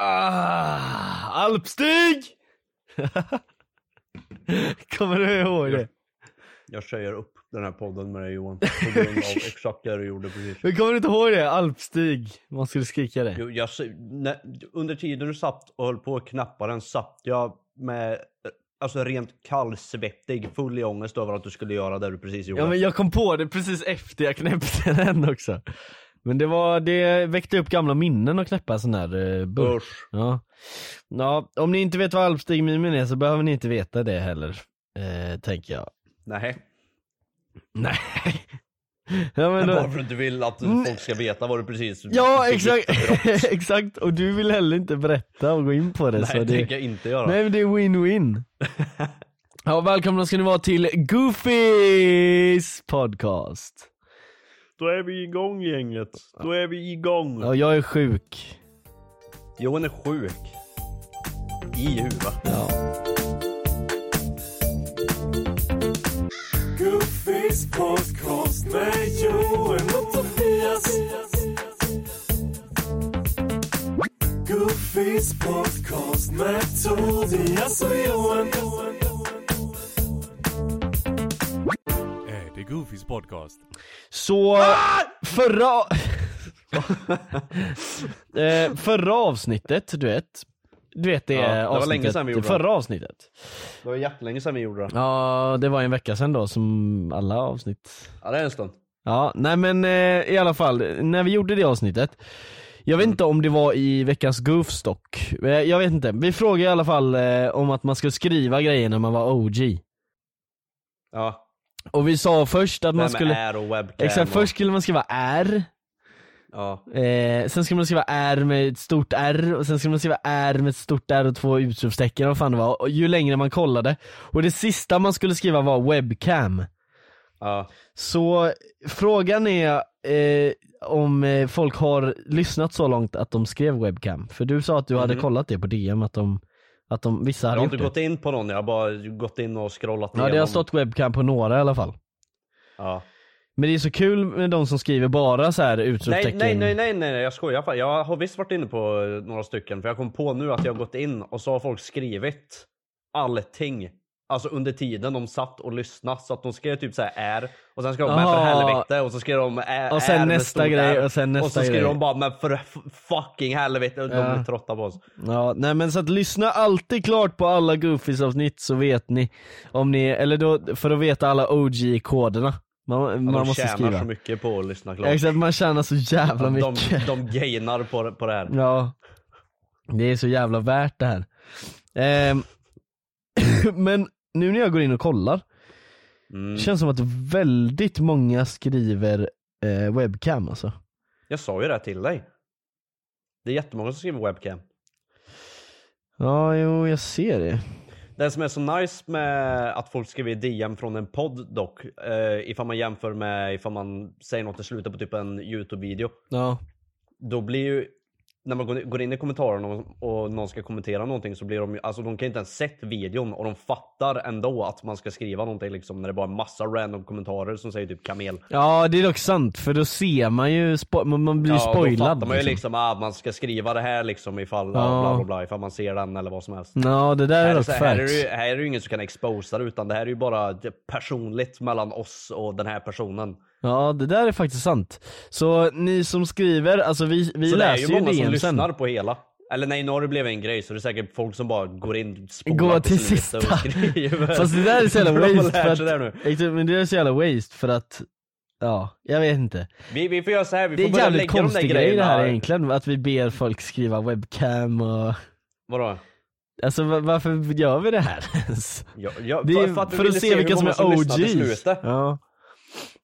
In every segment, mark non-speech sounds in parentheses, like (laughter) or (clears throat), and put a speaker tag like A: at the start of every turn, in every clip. A: Ah, alpstig! (laughs) Kommer du ihåg det?
B: Jag säger upp den här podden med dig (laughs) Johan. På grund av exakt det du gjorde precis.
A: Men kommer du inte ihåg det? Alpstig. Man skulle skrika det.
B: Jo, jag, se- när, under tiden du satt och höll på och knappade den satt jag med eh, alltså rent kallsvettig, full i ångest över att du skulle göra det du precis gjorde.
A: Ja men jag kom på det precis efter jag knäppte (laughs) den också. Men det var, det väckte upp gamla minnen att knäppa en sån här eh, burk.
B: Usch.
A: Ja. ja, om ni inte vet vad alpstigmimen är så behöver ni inte veta det heller. Eh, tänker jag.
B: Nej.
A: Nej. ja, men
B: Men
A: då- Mm.
B: bara för att du vill att folk ska veta vad du precis
A: ja
B: fick
A: exakt,
B: utföra.
A: (laughs) exakt. Och du vill heller inte berätta och gå in på det. så
B: Nej, det
A: det...
B: tänker jag inte göra.
A: Nej men det är
B: (laughs)
A: win-win. ja, välkomna ska ni vara till Goofys podcast.
B: Då är vi igång gänget. Då är vi igång.
A: Ja, jag är sjuk.
B: Johan är sjuk. I huvudet.
A: Ja.
C: Goofys podcast med Johan och Tobias. Goofys podcast med Tobias och Johan. Är det Goofys podcast?
A: Så
B: Ah!
A: förra... (laughs) eh, förra avsnittet, du vet. Du vet det,
B: Ja, det var
A: avsnittet,
B: länge sedan vi gjorde
A: förra avsnittet.
B: Det var jättelänge sedan vi gjorde det.
A: Ja, det var en vecka sedan då som alla avsnitt.
B: Ja, det är en stund.
A: Ja, nej men eh, i alla fall, när vi gjorde det avsnittet. Jag vet inte om det var i veckans goofstock. Eh, Jag vet inte. Vi frågade i alla fall eh, om att man skulle skriva grejer när man var OG.
B: Ja.
A: Och vi sa först att
B: Det här
A: man
B: med
A: skulle...
B: är och webcam.
A: Exakt,
B: och,
A: först skulle man skriva R.
B: Ja.
A: Eh, sen ska man skriva R med ett stort R och sen ska man skriva R med ett stort R och två utropstecken vad fan det var. Och ju längre man kollade. Och det sista man skulle skriva var webcam.
B: ja.
A: Så frågan är eh, om eh, folk har lyssnat så långt att de skrev webcam. För du sa att du hade kollat det på DM att de, att de vissa
B: Mhm.
A: hade
B: Jag har
A: gjort
B: inte
A: det.
B: gått in på någon, jag har bara gått in och scrollat
A: ja det har
B: igenom.
A: stått webcam på några i alla fall.
B: Ja.
A: Men det är så kul med de som skriver bara så här
B: Nej,
A: utropstecken.
B: nej, nej, nej, nej, nej, jag skojar fan. Jag har visst varit inne på eh, några stycken, för jag kom på nu att jag har gått in och så har folk skrivit allting. Alltså under tiden de satt och lyssnade, så att de skrev typ så här är, och sen skrev de men för
A: Aha.
B: helvete, och så skrev de är
A: Och sen
B: är med
A: nästa
B: stort
A: grej,
B: R.
A: och sen nästa
B: Och så skrev
A: grej.
B: de bara men för f- fucking helvete, och de
A: Ja.
B: blir trötta på oss.
A: Ja, nej men så att lyssna alltid klart på alla Goofies avsnitt så vet ni om ni, eller då för att veta alla OG-koderna man,
B: Att
A: man
B: de
A: måste
B: tjänar
A: skriva.
B: så mycket på att lyssna klart.
A: Exakt, man tjänar så jävla
B: De,
A: mycket.
B: de gainar på, det- på det här.
A: Ja. Det är så jävla värt det här. Ehm, (coughs) men nu när jag går in och kollar,
B: Mm.
A: det känns som att väldigt många skriver eh, webcam alltså.
B: Jag sa ju det här till dig. Det är jättemånga som skriver webcam.
A: Ja, jo jag ser det.
B: Det som är så nice med att folk skriver DM från en podd dock, eh, ifall man jämför med ifall man säger något i slutet på typ en YouTube-video,
A: Ja.
B: då blir ju när man går- går in i kommentarerna och, och någon ska kommentera någonting så blir de ju, alltså de kan inte ens sett videon och de fattar ändå att man ska skriva någonting liksom när det bara är massa random kommentarer som säger typ kamel.
A: Ja det är dock sant för då ser man ju, spo- man, man blir ju
B: då
A: spoilad.
B: fattar man ju
A: liksom.
B: liksom att man ska skriva det här liksom ifall, ja.
A: Ja.
B: bla, bla, bla, ifall man ser den eller vad som helst.
A: Ja det där är
B: Här är,
A: dock
B: så, här, är
A: facts.
B: liksom. det ju, här är det ju ingen som kan exposa det utan det här är ju bara det- personligt mellan oss och den här personen.
A: Ja det där är faktiskt sant. Så ni som skriver, alltså vi, vi
B: Så det är
A: läser
B: ju
A: ju
B: många som
A: DM sen.
B: lyssnar på hela. Eller nej, nu har det blivit en grej så det är säkert folk som bara går in, spolar
A: Går
B: på
A: till
B: slutet
A: sista.
B: och skriver.
A: (laughs) Fast det där är så jävla
B: (laughs) De har
A: waste för
B: lärt sig det här
A: att,
B: nu.
A: Exakt, men det är så jävla waste för att, ja jag vet inte.
B: Vi, vi får göra så här, vi
A: Det
B: får
A: är
B: börja
A: jävligt
B: lägga de där
A: konstig grej det
B: grejerna.
A: här egentligen, att vi ber folk skriva webcam och
B: Vadå?
A: Alltså va- varför gör vi det här (laughs) ens?
B: Ja, ja,
A: Det är
B: för att, vi
A: för att
B: ville
A: se vilka
B: hur
A: som
B: många
A: är
B: lyssnar till
A: OGs.
B: slutet.
A: Ja.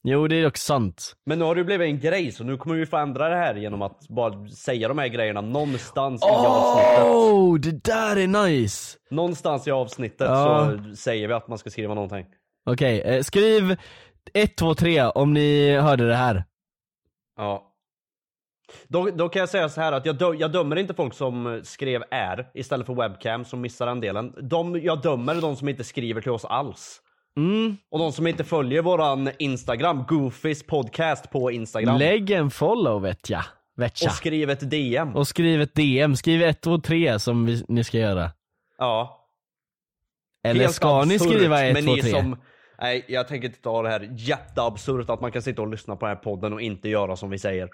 A: Jo det är dock sant.
B: Men nu har det ju blivit en grej så nu kommer vi få ändra det här genom att bara säga de här grejerna någonstans i avsnittet.
A: Oh, det där är nice!
B: Någonstans i avsnittet
A: Ja.
B: så säger vi att man ska skriva någonting.
A: Okej, eh, skriv 1, 2, 3 om ni hörde det här.
B: Ja. Då, då kan jag säga så här att jag, dö, jag dömer inte folk som skrev är istället för webcam som missar den delen. De, jag dömer de som inte skriver till oss alls.
A: Mm.
B: Och de som inte följer våran Instagram, Goofys podcast på Instagram.
A: Lägg en follow vet jag. Vetcha.
B: Och skriv ett DM.
A: Och skriv ett DM, skriv ett och tre som vi, ni ska göra.
B: Ja.
A: Eller
B: Helt
A: ska ni
B: absurt,
A: skriva
B: men
A: ett, två,
B: ni
A: tre?
B: Som, nej, jag tänker inte ta det här jätteabsurt att man kan sitta och lyssna på den här podden och inte göra som
A: (laughs)
B: vi säger.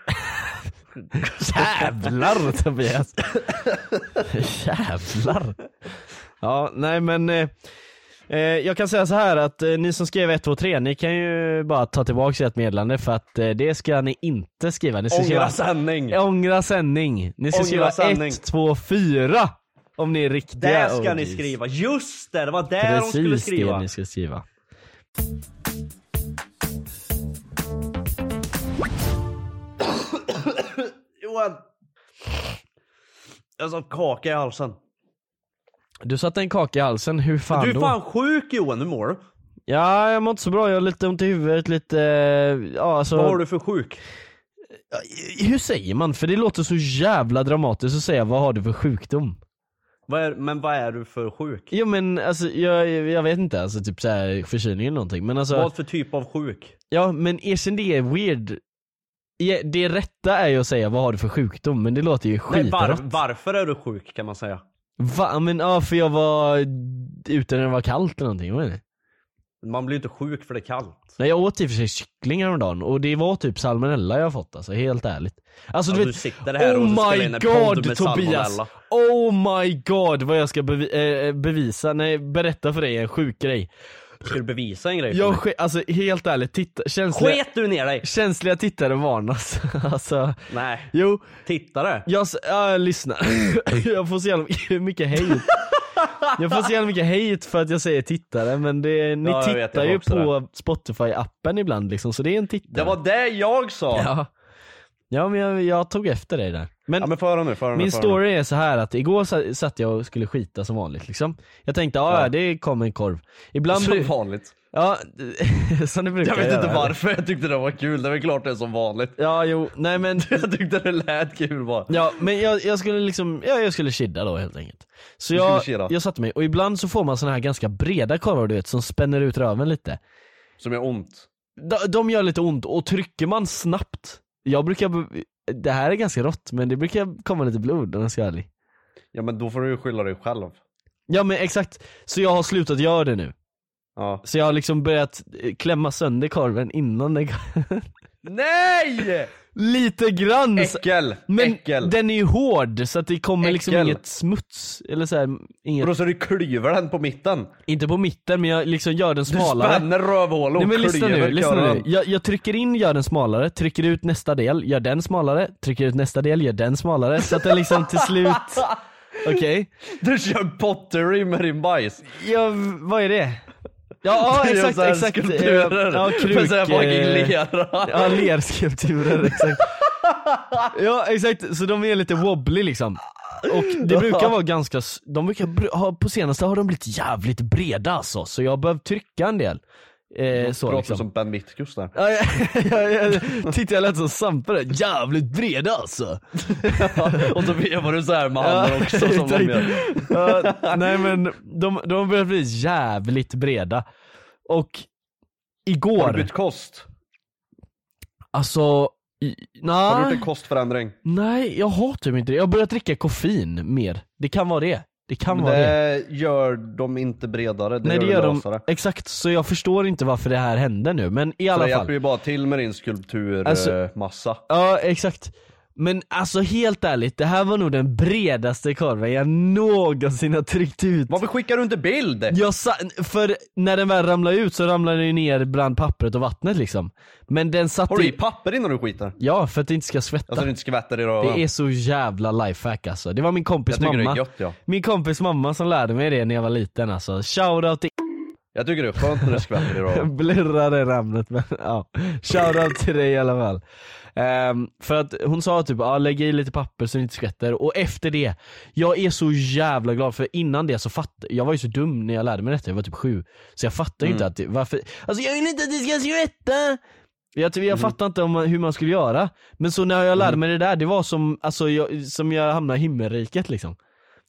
B: (laughs)
A: Jävlar Tobias! Jävlar! Ja, nej men eh, eh, jag kan säga så här att eh, ni som skrev 1, 2, 3, ni kan ju bara ta tillbaka ert meddelande för att eh, det ska ni inte skriva. Ni ska
B: Ångra
A: skriva
B: sanning!
A: Ångra sändning. Ni ska
B: Ångra
A: skriva
B: sändning.
A: 1, 2, 4 om ni är riktiga
B: Där ska ni
A: OGs.
B: skriva! Just det! Det var där
A: Precis
B: de skulle skriva.
A: det ni ska skriva.
B: Johan! Jag sa kaka i halsen.
A: Du satte en kaka i halsen, hur fan
B: Du är
A: då?
B: fan sjuk Johan, hur mår du?
A: Ja, jag mår inte så bra. Jag har lite ont i huvudet, lite... eh, Ja, alltså...
B: Vad har du för sjuk?
A: Hur säger man? För det låter så jävla dramatiskt att säga vad har du för sjukdom?
B: Vad är, men vad är du för sjuk?
A: Jo men alltså jag, jag vet inte, alltså typ såhär förkylning eller någonting men alltså,
B: Vad för typ av sjuk?
A: ja men erkänn det är weird Ja, Det rätta är ju att säga vad har du för sjukdom men det låter ju
B: Nej, var,
A: skitrått.
B: varför är du sjuk kan man säga?
A: Va? Men ja för jag var ute när det var kallt eller någonting, vad är det?
B: Man blir inte sjuk för det är kallt.
A: Nej jag åt i och för sig kyckling häromdagen och det var typ salmonella jag fått alltså, helt ärligt. Alltså
B: Ja,
A: du
B: du
A: vet,
B: sitter här och
A: oh
B: du spelar
A: my
B: in en podd
A: god
B: med
A: Tobias!
B: salmonella.
A: Oh my god vad jag ska bevi- eh, bevisa, nej berätta för dig en sjuk grej.
B: Ska du bevisa en grej för
A: Jag,
B: mig?
A: sk- alltså helt ärligt, titta, känsliga,
B: Sket du ner dig?
A: känsliga tittare varnas. alltså, (laughs)
B: Nej.
A: jo,
B: Tittare?
A: jag, s- ja, lyssna. (laughs) jag får så jävla mycket hate. jag får så jävla mycket hate för att jag säger tittare men det, ni
B: Ja, jag vet,
A: tittar
B: jag
A: ju
B: får också
A: på Spotify-appen ibland liksom så det är en tittare.
B: Det var det jag sa! Ja,
A: Ja, ja men jag, jag tog efter dig där. Men
B: men få höra nu, få höra nu,
A: min
B: få höra nu.
A: story är så här att igår sa- satt jag och skulle skita som vanligt liksom. Jag tänkte ja, ja.
B: Ja.
A: det kom en korv. Ibland bru-
B: Som vanligt.
A: Ja, (laughs) som det brukar
B: Jag vet
A: göra,
B: inte
A: eller?
B: varför jag tyckte det var kul, det är väl klart det är som vanligt. (laughs)
A: Ja jo, nej men
B: Jag tyckte det lät kul bara.
A: Ja men jag, jag skulle liksom, ja, jag skulle chidda då helt enkelt. Så
B: Du skulle
A: jag,
B: chidda.
A: jag satte mig, och ibland så får man såna här ganska breda korvar du vet som spänner ut röven lite.
B: Som gör ont.
A: De, de gör lite ont och trycker man snabbt, jag brukar, b- det här är ganska rått men det brukar komma lite blod om jag ska vara ärlig.
B: Ja men då får du ju skylla dig själv.
A: Ja men exakt, så jag har slutat göra det nu.
B: Ja.
A: Så jag har liksom börjat eh, klämma sönder korven innan den
B: Nej!
A: (laughs) Lite grann! så-
B: Äckel!
A: Men
B: Äckel!
A: den är ju hård så att det kommer liksom
B: Äckel.
A: inget smuts eller så här, inget
B: Och då så du klyver den på mitten.
A: Inte på mitten men jag liksom gör den
B: Du
A: smalare
B: spänner rövhålet och
A: Nej men lyssna
B: klyver
A: nu, lyssna nu.
B: köran.
A: Jag, jag trycker in, gör den smalare, trycker ut nästa del, gör den smalare, trycker ut nästa del, gör den smalare så att den liksom till slut
B: (laughs)
A: Okej,
B: Du kör pottery med din bajs.
A: ja, vad är det?
B: (laughs)
A: Ja, ja
B: Du gör
A: exakt,
B: så här
A: exakt
B: Skulpturer.
A: Eh, Ja, kruk,
B: Med såhär
A: eh,
B: fucking lera.
A: Ja, lerskulpturer, exakt. Ja, exakt. Så de är lite wobbly liksom. Och det brukar vara ganska, s- de brukar, br- ha- på senaste har de blivit jävligt breda alltså, så jag har behövt trycka en del. Eh, så
B: Pratar
A: liksom.
B: som Ben Mitkus där.
A: Ja, (laughs) jag, jag, jag tyckte jag lät som Sampe där, jävligt breda alltså.
B: och så vevar du såhär med handen (laughs) också som de
A: tänkte-
B: gör.
A: Ja, nej men de, de börjar bli jävligt breda. Och
B: Har du
A: igår,
B: bytt kost?
A: alltså, i, nej.
B: Har du gjort en kostförändring?
A: Nej, jag har typ inte det. Jag har börjat dricka koffein mer. Det kan vara det. Det kan vara det.
B: Det gör de inte bredare, det
A: Nej
B: gör
A: det
B: de
A: gör
B: lösare.
A: de, exakt. Så jag förstår inte varför det här hände nu. Men i
B: Så
A: alla
B: det
A: fall.
B: hjälper ju bara till med din eh,
A: Alltså-
B: skulpturmassa.
A: Ja exakt. Men alltså helt ärligt, det här var nog den bredaste korven jag någonsin har tryckt ut.
B: Varför skickar du inte bild?
A: Jag sa, för när den väl ramlade ut så ramlade den ju ner bland pappret och vattnet liksom. Men den satt
B: Har du i
A: i...
B: papper innan du skiter?
A: Ja, för att det inte ska svetta.
B: Alltså du inte skvätter i röven.
A: Det är så jävla lifehack alltså. Det var min kompis
B: Jag tycker det
A: mamma.
B: är gött ja.
A: Min kompis mamma som lärde mig det när jag var liten alltså. Shoutout till
B: Jag tycker det är skönt när du skvätter
A: (laughs)
B: i röven.
A: blurrade namnet men ja. Shoutout till dig i alla fall. Ehm, för att hon sa typ ah, lägg i lite papper så det inte skvätter och efter det, jag är så jävla glad för innan det så fattade jag var ju så dum när jag lärde mig detta, jag var typ sju. Så jag fattade ju inte
B: Mm.
A: att det, varför, alltså jag vill inte att det ska skvätta! Jag,
B: Mm.
A: typ, jag fattar inte om man, hur man skulle göra. Men så när jag lärde mig det där, det var som, alltså, jag, som jag hamnade i himmelriket liksom.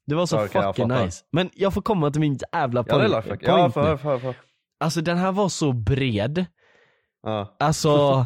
A: Det var så
B: Ja, okej, jag
A: fucking
B: fattar.
A: nice. Men jag får komma till min jävla
B: Ja det är
A: point,
B: lifehack.
A: point
B: Ja, för,
A: nu.
B: för, för.
A: Alltså den här var så bred.
B: Ja.
A: Alltså,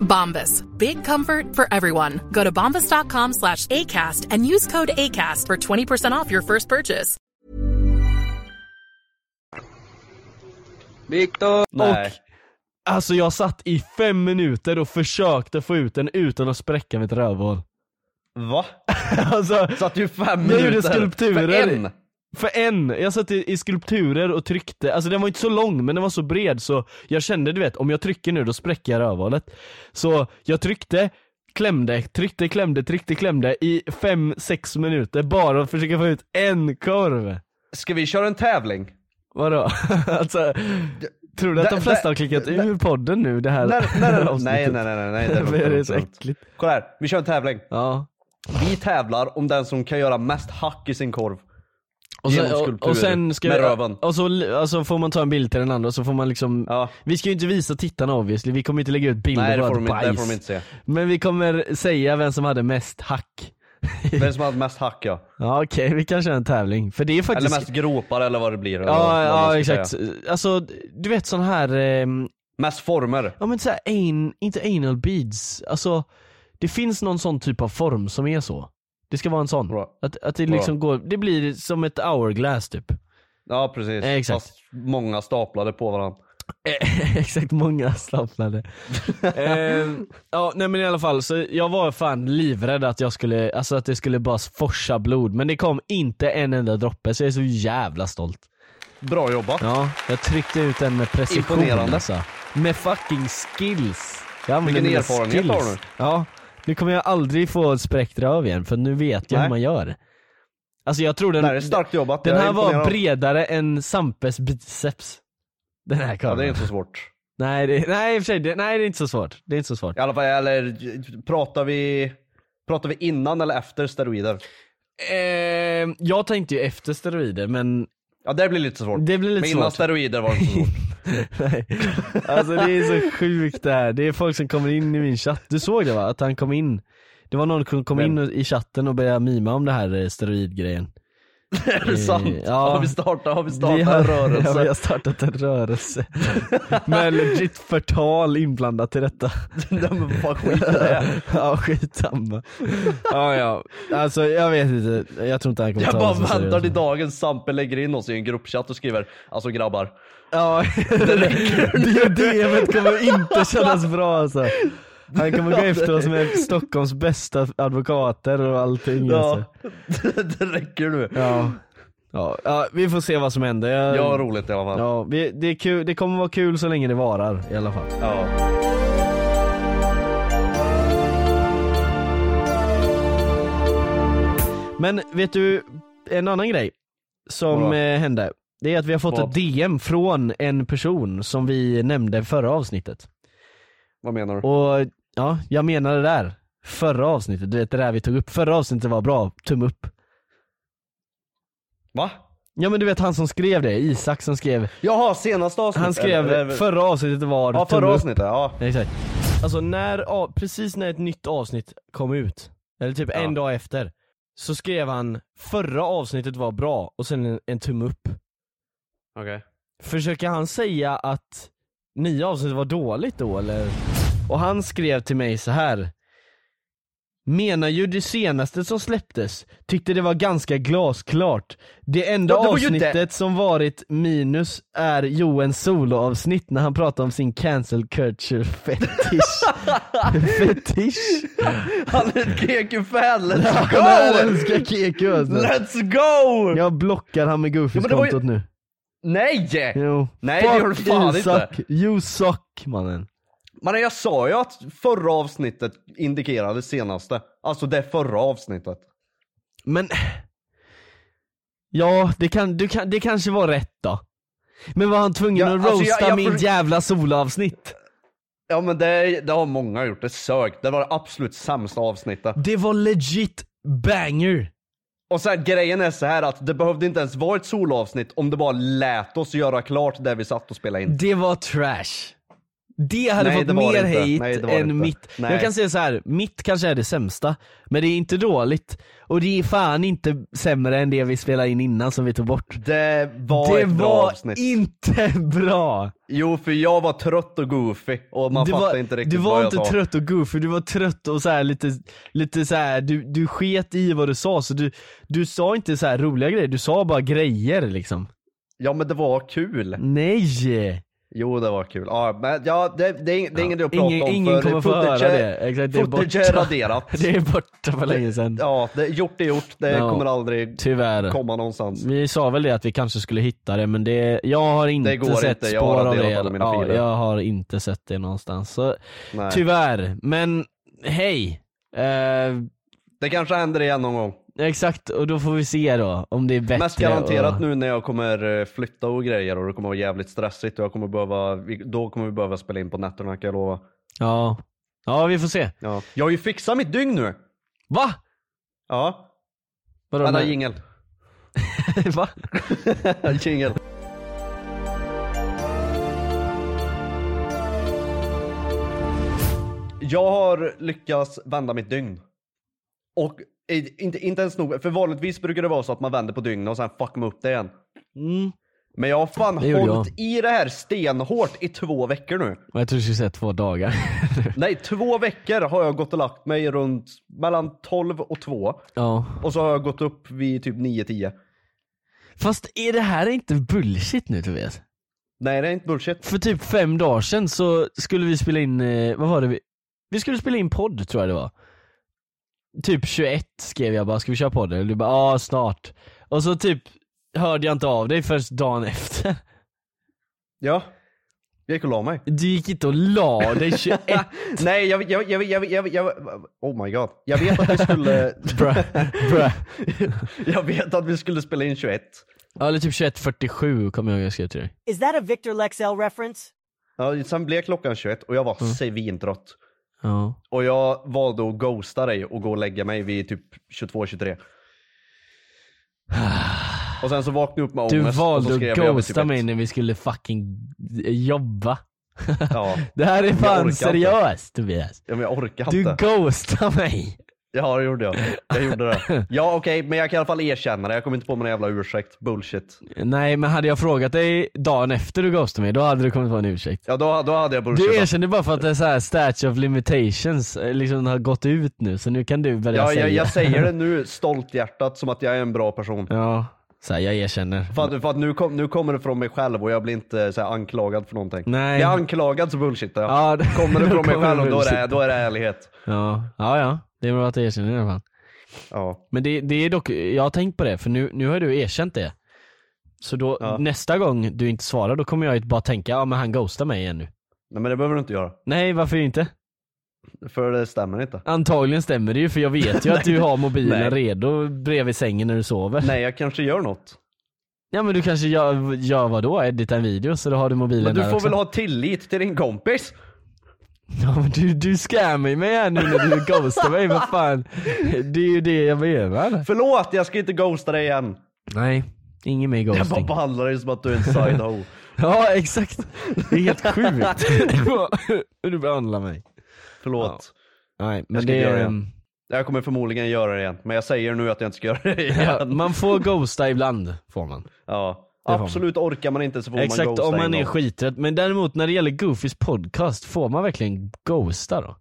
D: Bombas. Big comfort for everyone. Go to bombas.com slash ACAST and use code ACAST for 20% off your first purchase.
E: Víctor.
B: Nej.
A: Alltså jag satt i fem minuter och försökte få ut den utan att spräcka mitt rövhål. (laughs)
B: Va?
A: Alltså,
B: Satt ju fem
A: Jag
B: minuter.
A: gjorde skulpturer.
B: För en.
A: för en, jag satt i, i skulpturer och tryckte, alltså den var inte så lång men den var så bred så jag kände du vet, om jag trycker nu då spräcker jag rövhålet. Så jag tryckte, klämde, tryckte, klämde, tryckte, klämde i fem sex minuter bara att försöka få ut en korv.
B: Ska vi köra en tävling?
A: Vadå? (laughs) alltså, tror du att de
B: Där-
A: flesta
B: där-
A: har klickat
B: där-
A: ur podden nu det här
B: Nej, nej,
A: (laughs)
B: nej,
A: avsnittet?
B: nej, nej, nej, nej,
A: (laughs)
B: nej,
A: Det är så
B: lugnt.
A: äckligt.
B: Kolla här, vi kör en tävling.
A: Ja.
B: Vi tävlar om den som kan göra mest hack i sin korv.
A: Och sen,
B: Genom
A: och,
B: skulptur
A: och sen ska
B: med röven.
A: Och så li- alltså får man ta en bild till den andra och så får man liksom
B: Ja.
A: Vi ska ju inte visa tittarna obviously, vi kommer inte lägga ut bilder
B: Nej
A: på
B: det får,
A: allt
B: de, inte- det
A: bajs.
B: får de inte se.
A: Men vi kommer säga vem som hade mest hack.
B: Vem som hade mest hack
A: (laughs)
B: ja.
A: Ja okej, vi kan köra en tävling. För det är faktiskt...
B: Eller mest gropar eller vad det blir. eller vad
A: Ja,
B: man
A: ja
B: ska
A: exakt.
B: säga.
A: Alltså du vet sån här, ehm,
B: Mest former.
A: ja men såhär, an, inte anal beads, alltså det finns någon sån typ av form som är så. Det ska vara en sån.
B: Bra.
A: Att, att det liksom går, det blir som ett hourglass typ.
B: Ja precis.
A: Eh, exakt.
B: Fast många staplade på varandra. (laughs)
A: Eh, Exakt, många slappnade. (laughs) Ehm, ja, nej men i alla fall, så jag var fan livrädd att jag skulle, alltså att det skulle bara forsa blod. Men det kom inte en enda droppe, så jag är så jävla stolt.
B: Bra jobbat.
A: Ja, jag tryckte ut den med precision
B: Imponerande.
A: alltså. Med fucking skills. Jag använder
B: Vilken
A: mina
B: erfarenhet
A: skills.
B: har du?
A: Ja, nu kommer jag aldrig få ett spräckt röv igen, för nu vet jag
B: Nej.
A: hur man gör. Alltså jag tror
B: Det
A: den,
B: här är starkt jobbat.
A: den
B: Jag är
A: här var
B: imponerad.
A: bredare än Sampes biceps. Den här
B: Ja,
A: kameran.
B: det är inte så svårt.
A: Nej, det, (laughs) nej i och för sig, det, nej det är inte så svårt. Det är inte så svårt.
B: I alla fall, eller pratar vi, pratar vi innan eller efter steroider?
A: Ehm, jag tänkte ju efter steroider men,
B: Ja det blir lite svårt.
A: Det blir lite
B: Men innan
A: svårt.
B: steroider var det inte så svårt.
A: (laughs) nej. Alltså det är så sjukt det här. Det är folk som kommer in i min chatt. Du såg det va? Att han kom in. Det var någon som kom
B: Vem?
A: in och- i chatten och började mima om det här eh, steroidgrejen.
B: är det sant?
A: ja.
B: Har Mm. vi startat, har vi startat
A: Vi (laughs)
B: en
A: Ja,
B: rörelse? (laughs)
A: vi har startat en (laughs) rörelse. Med legit förtal inblandat i detta.
B: Nej men vad skit är det?
A: (laughs) ja skitsamma. ja ja, alltså jag vet inte. Jag tror inte han kommer
B: Jag
A: ta
B: bara
A: det så
B: väntar
A: seriöst.
B: till dagen Sampe lägger in oss i en gruppchatt och skriver Alltså grabbar,
A: Ja, det DMet kommer inte kännas bra alltså. Han kommer gå efter oss med Stockholms bästa advokater och allting
B: ja, (laughs)
A: alltså.
B: det räcker nu.
A: ja. Ja, ja, vi får se vad som händer. Jag,
B: Jag har roligt i alla fall.
A: ja, vi, det, är kul, det kommer vara kul så länge det varar i alla fall.
B: Ja.
A: Men vet du, en annan grej som
B: Vadå?
A: eh, hände. Det är att vi har fått
B: Vad?
A: ett DM från en person som vi nämnde förra avsnittet.
B: Vad menar du?
A: Och ja, jag menar det där. Förra avsnittet, du vet det där vi tog upp. Förra avsnittet var bra, tumme upp.
B: Va?
A: Ja men du vet han som skrev det, Isak som skrev.
B: Jaha, senaste avsnittet?
A: Han skrev
B: Eller-
A: förra avsnittet var
B: Ja
A: tumme
B: förra
A: upp."
B: avsnittet, ja.
A: Nej, Exakt. Alltså när, av- precis när ett nytt avsnitt kom ut, eller typ en
B: Ja.
A: dag efter, så skrev han 'Förra avsnittet var bra' och sen en, en tumme upp.
B: Okej.
A: Försöker han säga att nya avsnittet var dåligt då eller? Och han skrev till mig så här. Menar ju det senaste som släpptes, tyckte det var ganska glasklart. Det enda
B: Ja, det var ju
A: avsnittet
B: det.
A: som varit minus är Joens soloavsnitt när han pratar om sin cancel culture
B: (laughs)
A: fetish. fetish?
B: Han är ett keku-fan, let's
A: Jag
B: go!
A: älskar Keku alltså.
B: Let's go!
A: Jag blockar han med Goofys
B: men det var ju-
A: kontot nu.
B: Nej!
A: Jo.
B: Nej, det gör du
A: Fuck
B: fan inte.
A: Isak. You suck mannen.
B: Men jag sa ju att förra avsnittet indikerade senaste. Alltså det förra avsnittet.
A: Men... Ja, det, kan, du kan, det kanske var rätt då. Men var han tvungen
B: Ja,
A: att
B: alltså, jag-
A: roasta
B: jag
A: min
B: för-
A: jävla solavsnitt?
B: Ja men det, det har många gjort, det sökt. Det var det absolut sämsta avsnittet.
A: Det var legit banger.
B: Och sen grejen är så här att det behövde inte ens vara ett solavsnitt om det bara lät oss göra klart där vi satt och spelade in.
A: Det var trash. Det hade
B: Nej,
A: fått
B: det var
A: mer
B: det inte.
A: hate
B: Nej, det var det
A: än
B: inte.
A: mitt.
B: Nej.
A: Jag kan säga så här, mitt kanske är det sämsta, men det är inte dåligt. Och det är fan inte sämre än det vi spelade in innan som vi tog bort.
B: Det var
A: det
B: ett bra
A: var
B: avsnitt.
A: inte (laughs) bra!
B: Jo för jag var trött och goofy och man
A: du
B: fattade
A: var,
B: inte riktigt
A: du var
B: vad jag
A: inte
B: sa.
A: trött och goofy, du var trött och så här lite, lite så här, du, du sket i vad du sa så du, du sa inte så här roliga grejer, du sa bara grejer liksom.
B: Ja men det var kul.
A: Mm. Nej!
B: Jo det var kul. Ja, men, ja, det, det, är, ing- det är ingen idé att prata
A: Ingen,
B: om
A: ingen kommer få höra
B: footage är-
A: det. Exakt, det är
B: footage
A: borta.
B: är raderat.
A: (laughs) Det är borta för länge sedan.
B: Ja, det, gjort är gjort. Det
A: Ja.
B: kommer aldrig
A: Tyvärr. Mm.
B: komma någonstans.
A: Vi sa väl det att vi kanske skulle hitta det men det, jag har inte
B: går
A: sett
B: inte. Jag har
A: spår av
B: raderat
A: det.
B: alla mina
A: ja,
B: filer.
A: jag har inte sett det någonstans. Så,
B: Nej.
A: tyvärr, men hej! Eh,
B: Det kanske händer igen någon gång.
A: Exakt, och då får vi se då om det är bättre
B: Mest garanterat
A: och...
B: nu när jag kommer eh, flytta och grejer och det kommer vara jävligt stressigt och jag kommer behöva, vi- då kommer vi behöva spela in på nätterna kan jag lova.
A: Ja. ja, vi får se.
B: Ja. Jag har ju fixat mitt dygn nu!
A: Va?
B: Ja,
A: Vadå?
B: vänta
A: nej?
B: jingel.
A: (laughs) Va?
B: jingel. Jag har lyckats vända mitt dygn. Och i- inte, inte ens nog, för vanligtvis brukar det vara så att man vänder på dygnet och sen fuckar man upp det igen.
A: Mm.
B: Men jag har fan
A: Det gjorde
B: hållit i det här stenhårt i två veckor nu.
A: Och jag tror du skulle säga två dagar. (laughs)
B: Nej, två veckor har jag gått och lagt mig runt mellan 12 och 2.
A: ja.
B: Och så har jag gått upp vid typ 9-10.
A: Fast är det här inte bullshit nu Tobias?
B: Nej, det är inte bullshit.
A: För typ fem dagar sedan så skulle vi spela in, eh, vad var det vi? Vi skulle spela in podd tror jag det var. Typ 21 skrev jag bara, ska vi köra podd? Eller du bara, ja snart. Och så typ hörde jag inte av dig först dagen efter. (laughs)
B: Ja. Jag gick och la mig.
A: Du gick inte och la dig 21
B: Nej, jag, jag, jag, jag, jag, jag, Oh my god. Jag vet att
A: (laughs)
B: vi skulle...
A: bruh, bruh.
B: (laughs) jag vet att vi skulle spela in 21.
A: Ja eller typ 21.47 kommer jag ihåg jag skrev till dig.
F: Is that a Victor Lexell reference?
B: Ja, sen blev klockan 21 och jag var
A: Mm.
B: svintrött.
A: Ja.
B: Och jag valde att ghosta dig och gå och lägga mig vid typ 22-23.
A: (sighs)
B: Och sen så vaknade jag upp med ångest.
A: Du
B: och så
A: valde
B: skrev
A: att
B: jag vid
A: ghosta
B: typ
A: mig
B: ett.
A: när vi skulle fucking eh, jobba.
B: Ja.
A: (laughs) Det här är
B: orkar
A: fan
B: inte.
A: seriöst Tobias.
B: Ja, men jag orkar
A: Du
B: inte.
A: ghostar mig.
B: Ja det gjorde jag. Jag gjorde
A: (laughs)
B: det. Ja okej, men jag kan i alla fall erkänna det. Jag kommer inte på någon jävla ursäkt. Bullshit.
A: Nej men hade jag frågat dig dagen efter du ghostade mig, då hade det kommit vara en ursäkt.
B: Ja då, då hade jag
A: Du
B: bullshit.
A: erkände bara för att det är så här statue of limitations eh, liksom har gått ut nu, så nu kan du börja
B: ja,
A: säga.
B: jag, jag säger
A: (laughs)
B: det nu stolthjärtat som att jag är en bra person.
A: Ja, så här, jag erkänner.
B: För att, för att nu, kom, nu kommer det från mig själv och jag blir inte så här, anklagad för någonting.
A: Nej.
B: Är jag anklagad så bullshittar jag.
A: Ja,
B: Kommer
A: (laughs)
B: det
A: då
B: från mig
A: kommer
B: själv och då är det,
A: bullshit.
B: då är det ärlighet.
A: Ja, ja, ja. det är bra att du erkänner i alla fall.
B: Ja.
A: Men det, det är dock, jag har tänkt på det för nu, nu har du erkänt det. Så då, nästa gång du inte svarar då kommer jag bara tänka, ja men han ghostar mig igen nu.
B: Nej men det behöver du inte göra.
A: Nej varför inte?
B: För det stämmer inte.
A: Antagligen stämmer det ju för jag vet
B: (laughs)
A: ju att du har mobilen
B: Nej.
A: redo bredvid sängen när du sover.
B: Nej jag kanske gör något.
A: Ja men du kanske gör, gör vadå? Edita en video så då har du mobilen
B: Men du
A: där
B: får
A: också.
B: väl ha tillit till din kompis?
A: (laughs) Ja men du, du scammar ju mig här nu när du ghostar mig, vad fan. Det är ju det jag behöver.
B: Förlåt jag ska inte ghosta dig igen.
A: Nej, ingen mer
B: Jag bara
A: ghosting.
B: behandlar dig som att du är en side hoe.
A: (laughs) Ja exakt, det är helt
B: (laughs)
A: sjukt. Hur du behandlar mig.
B: Förlåt.
A: Nej
B: Jag
A: men
B: ska
A: det,
B: inte göra det.
A: ehm,
B: Jag kommer förmodligen göra det igen, men jag säger nu att jag inte ska göra det igen.
A: Ja, (laughs) man får ghosta ibland, får man.
B: Ja.
A: får man.
B: Absolut orkar man inte så får man
A: Exakt,
B: ghosta
A: om man
B: en
A: är
B: gång.
A: skiträtt. Men däremot när det gäller Goofys podcast, får man verkligen ghosta då?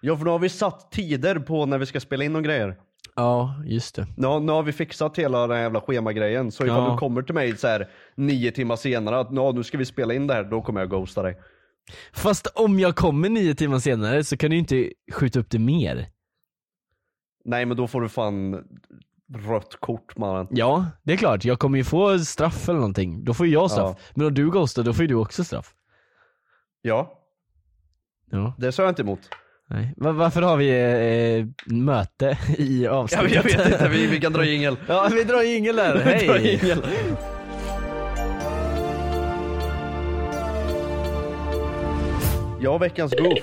B: Ja för nu har vi satt tider på när vi ska spela in och grejer.
A: Ja, just det.
B: Nu, nu har vi fixat hela den här jävla schemagrejen. Så ifall
A: Ja.
B: du kommer till mig så här nio timmar senare att "Nå, nu ska vi spela in det här, då kommer jag ghosta dig.
A: Fast om jag kommer nio timmar senare så kan du ju inte skjuta upp det mer.
B: Nej men då får du fan rött kort mannen.
A: Ja, det är klart. Jag kommer ju få straff eller någonting. Då får ju jag straff. Men om du ghostar, då får ju du också straff.
B: Ja,
A: Ja,
B: det sa jag inte emot.
A: nej. Va- varför har vi eh, möte (laughs) i
B: Ja, men
A: avsnittet?
B: jag vet inte, (laughs) vi, vi kan dra jingel.
A: Ja, (laughs) vi drar jingel där.
B: Vi drar
A: Hej!
B: jingel. Ja, veckans goof.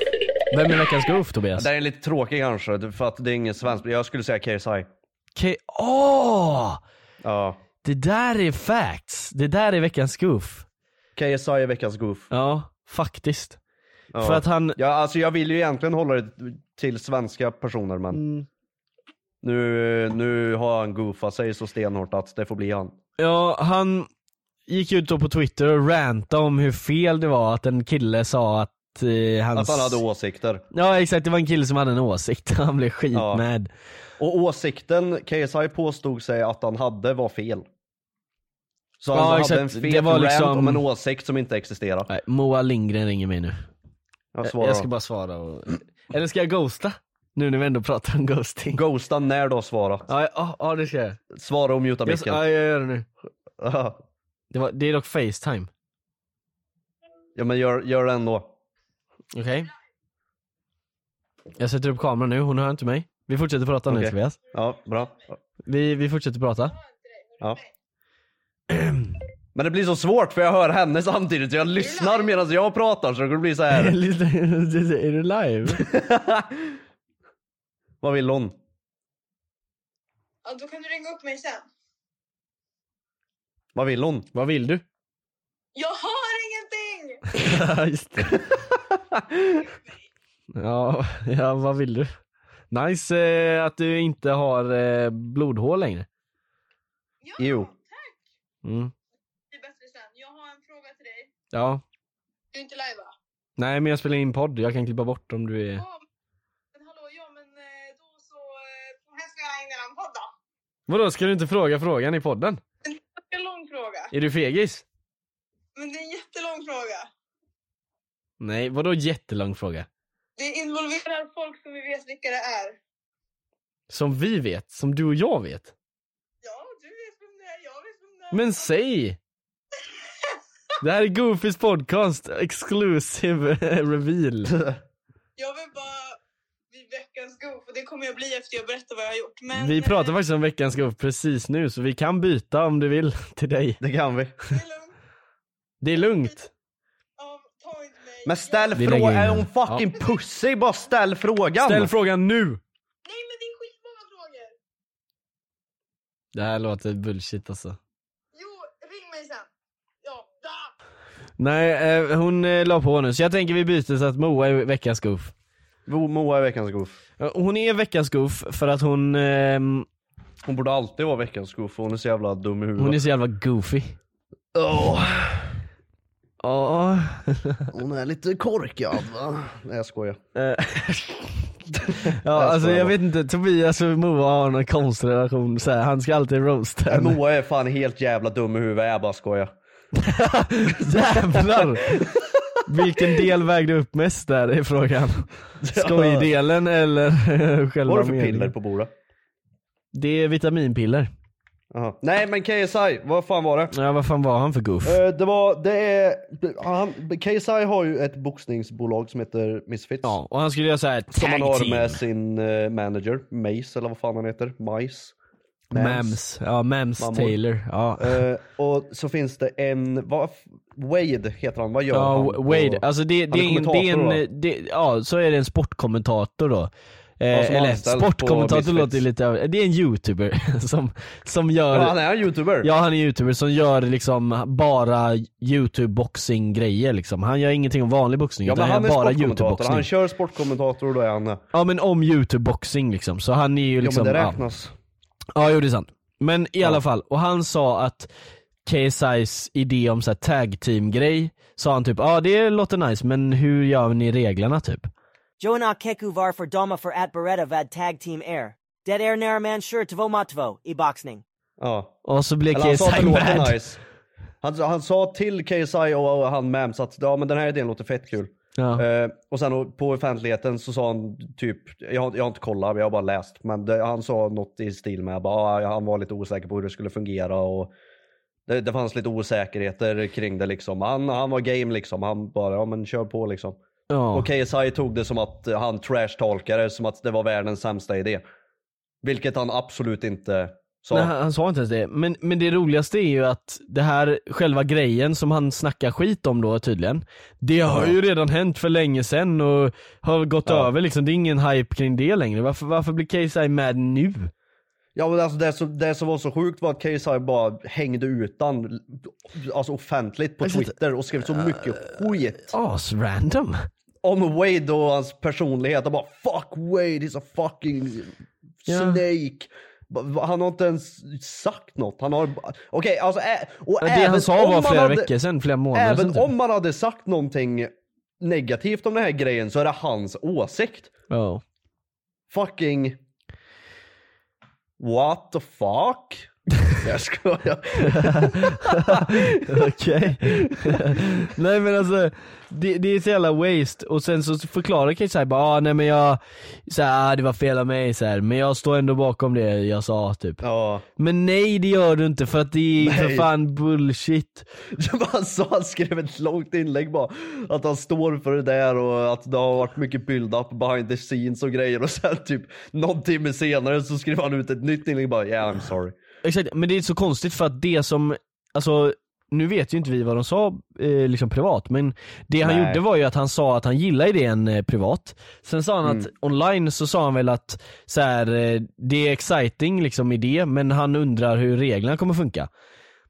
A: Vem är veckans goof Tobias?
B: Det här är lite tråkig kanske, för att det är ingen svensk. Jag skulle säga KSI.
A: Okej, åh!
B: Ja.
A: det där är facts. Det där är veckans goof.
B: KSI är veckans goof.
A: Ja, faktiskt.
B: Ja.
A: För att han,
B: Ja, alltså jag vill ju egentligen hålla det till svenska personer men
A: Mm.
B: nu, nu har han goofat sig så stenhårt att det får bli han.
A: ja han gick ut då på Twitter och rantade om hur fel det var att en kille sa att eh,
B: Att
A: hans...
B: han hade åsikter.
A: Ja exakt, det var en kille som hade en åsikt. (laughs) Han blev skitmad.
B: Och åsikten KSI påstod sig att han hade var fel. Så han
A: Ja,
B: hade
A: exakt.
B: en fet
A: Det var
B: rant
A: liksom-
B: om en åsikt som inte existerar.
A: Nej, Moa Lindgren ringer mig nu.
B: Jag svarar.
A: Jag ska bara svara och... Eller ska jag ghosta? Nu när vi ändå pratar om ghosting.
B: Ghosta när du har svarat.
A: Ja, ja, ja det ska jag.
B: Svara och muta
A: Jag,
B: micken.
A: ja, jag gör det nu. Det, var, det är dock Facetime.
B: Ja men gör, gör det ändå.
A: Okej? Jag sätter upp kameran nu, hon hör inte mig. Vi fortsätter prata nu
B: Okej.
A: Tobias.
B: Ja, bra.
A: Vi, vi fortsätter prata.
B: Ja. Men det blir så svårt för jag hör henne samtidigt så jag lyssnar medan jag pratar så det blir
A: (laughs)
B: så här.
A: Lyssna, är du live?
B: Vad vill hon?
G: Ja, då kan du ringa upp mig sen.
B: Vad vill hon?
A: (laughs) Vad vill du?
G: Jag har ingenting!
A: Just det. (laughs) ja, ja, vad vill du? Nice eh, att du inte har eh, blodhål längre.
G: Ja,
B: Jo.
A: Mm.
G: det är bättre sen. Jag har en fråga till dig.
A: Ja.
G: Du är inte live va?
A: Nej men jag spelar in podd, jag kan klippa bort om du är...
G: Ja, men hallå, ja men eh, då så eh, hälsar jag in en podd då.
A: Vadå, ska du inte fråga frågan i podden?
G: Det är en lång fråga.
A: Är du fegis?
G: Men det är en jättelång fråga.
A: Nej, vadå jättelång fråga?
G: Det involverar folk som vi vet vilka det är.
A: Som vi vet, som du och jag vet.
G: Ja, du vet vem det är, jag vet vem det är.
A: Men säg! Det här är Goofys podcast, exclusive (laughs) reveal.
G: Jag vill bara bli veckans goof och det kommer jag bli efter jag berättar vad jag har gjort. Men
A: Vi
G: eh,
A: pratar faktiskt om veckans Goof precis nu så vi kan byta om du vill (laughs) till dig.
B: Det kan vi.
G: det är lugnt.
A: Det är lugnt.
G: Ja, ta inte mig.
B: Men ställ
A: Vi lägger
B: frågan.
A: in
B: Är
A: den.
B: hon fucking pussig? Bara ställ frågan.
A: Ställ frågan nu!
G: Nej men det är skitmånga frågor.
A: Det här låter bullshit alltså.
G: Jo, ring mig sen. Ja, da.
A: Nej, eh, hon eh, la på nu så jag tänker vi byter så att Moa är veckans Goof.
B: Mo- Moa är veckans goof.
A: Eh, Hon är veckans Goof för att hon, ehm,
B: Hon borde alltid vara veckans goof för hon är så jävla dum i huvudet.
A: hon är så jävla goofy.
B: Åh,
A: Ja.
B: hon är lite korkad va? Nej jag skojar.
A: Eh, ja alltså
B: skojar
A: jag
B: bara.
A: vet inte, Tobias och Moa har en konstig relation så här, han ska alltid roasta
B: Nej,
A: henne.
B: Moa är fan helt jävla dum i huvudet, jag bara skojar. (laughs)
A: Jävlar! Vilken del vägde upp mest där i frågan? Skojdelen eller (laughs) själva
B: Vad har du för
A: meningen?
B: piller på bordet?
A: Det är vitaminpiller.
B: Aha. Nej men KSI, vad fan var det?
A: Ja vad fan var han för goof?
B: Eh, Det var, det är, ah, han, KSI har ju ett boxningsbolag som heter Misfits.
A: Ja, och han skulle göra såhär
B: Som han
A: tag
B: har
A: team.
B: med sin eh, manager, Mace eller vad fan han heter, Mice.
A: Mams. Ja, Mams
B: Mammor.
A: Taylor. Ja.
B: Eh, och så finns det en, vad, f- Wade heter han, vad gör
A: Ja,
B: han?
A: Wade,
B: på-
A: alltså det,
B: han
A: det, är en, det är
B: kommentator,
A: en, det, ja så är det en sportkommentator då. Eh,
B: Ja, som
A: eller
B: anställd på
A: sportkommentator
B: Misfits.
A: låter ju lite över... Det är en youtuber (laughs) som, som gör...
B: Ja, han är en youtuber.
A: Ja han är youtuber som gör liksom bara youtube boxing grejer liksom. Han gör ingenting om vanlig boxning
B: Ja,
A: utan
B: men han är
A: bara youtube
B: sportkommentator.
A: boxning.
B: Han kör sportkommentator och då är han...
A: Ja men om youtube boxing liksom. Så han är ju liksom...
B: ja, men det räknas.
A: Ja, jo det är sant. Men i alla fall, och han sa att KSI's idé om så här tag team grej, sa han typ ja ah, det låter nice men hur gör ni reglerna typ?
F: Joana Keku var for Doma for at Beretta vad tag team air. Dead air naraman sure tvo matvo i boxning.
B: Ja.
A: Och så blev
B: Eller han
A: KSI
B: sa att det låter
A: mad.
B: nice. Han, han sa till KSI och och han Mams att ja, men den här idén låter fett kul.
A: Ja.
B: Eh, och sen på offentligheten så sa han typ, jag, har- jag har inte kollat, jag har bara läst. Men det, han sa något i stil med bara, ja, han var lite osäker på hur det skulle fungera. Och det, det fanns lite osäkerheter kring det liksom. Han, han var game liksom. Han bara, ja men kör på liksom.
A: Ja.
B: Och KSI tog det som att han trashtalkade som att det var världens sämsta idé. Vilket han absolut inte sa.
A: Nej, han, han sa inte ens det. Men, men det roligaste är ju att det här, själva grejen som han snackar skit om då tydligen, det har ju redan hänt för länge sedan och har gått
B: Ja.
A: över liksom. Det är ingen hype kring det längre. Varför, varför blir KSI mad nu?
B: Ja men alltså det som, det som var så sjukt var att KSI bara hängde utan, alltså offentligt på
A: Exakt.
B: Twitter och skrev så mycket
A: Eh,
B: skit
A: As random.
B: om Wade och hans personlighet. Och bara fuck Wade, he's a fucking
A: Ja.
B: snake. Ba- Han har inte ens sagt något. Han har bara- Okej, alltså ä- och
A: Ja, det
B: även
A: han sa
B: om
A: var
B: man
A: flera
B: hade-
A: veckor sedan, flera månader
B: Även
A: sedan. typ.
B: om man hade sagt någonting negativt om den här grejen så är det hans åsikt.
A: Ja. (laughs)
B: Fucking... What
A: (laughs)
B: the fuck? Jag skojar.
A: Okej. (laughs) nej men alltså, det, det är så jävla waste och sen så förklarar Kate såhär bara ah, nej men jag, så här, ah, det var fel av mig så här, men jag står ändå bakom det jag sa typ.
B: Ja.
A: Men nej det gör du inte för att det är för
B: Nej.
A: fan bullshit.
B: (laughs) Han, sa, han skrev ett långt inlägg bara. Att han står för det där och att det har varit mycket build-up behind the scenes och grejer. Och sen typ någon timme senare så skrev han ut ett nytt inlägg bara yeah I'm sorry.
A: Exakt, men det är så konstigt för att det som, alltså nu vet ju inte vi vad de sa eh, liksom privat men det han
B: Nej.
A: gjorde var ju att han sa att han gillar idén eh, privat. Sen sa han
B: Mm.
A: att online så sa han väl att så här, eh, det är exciting liksom idé men han undrar hur reglerna kommer funka.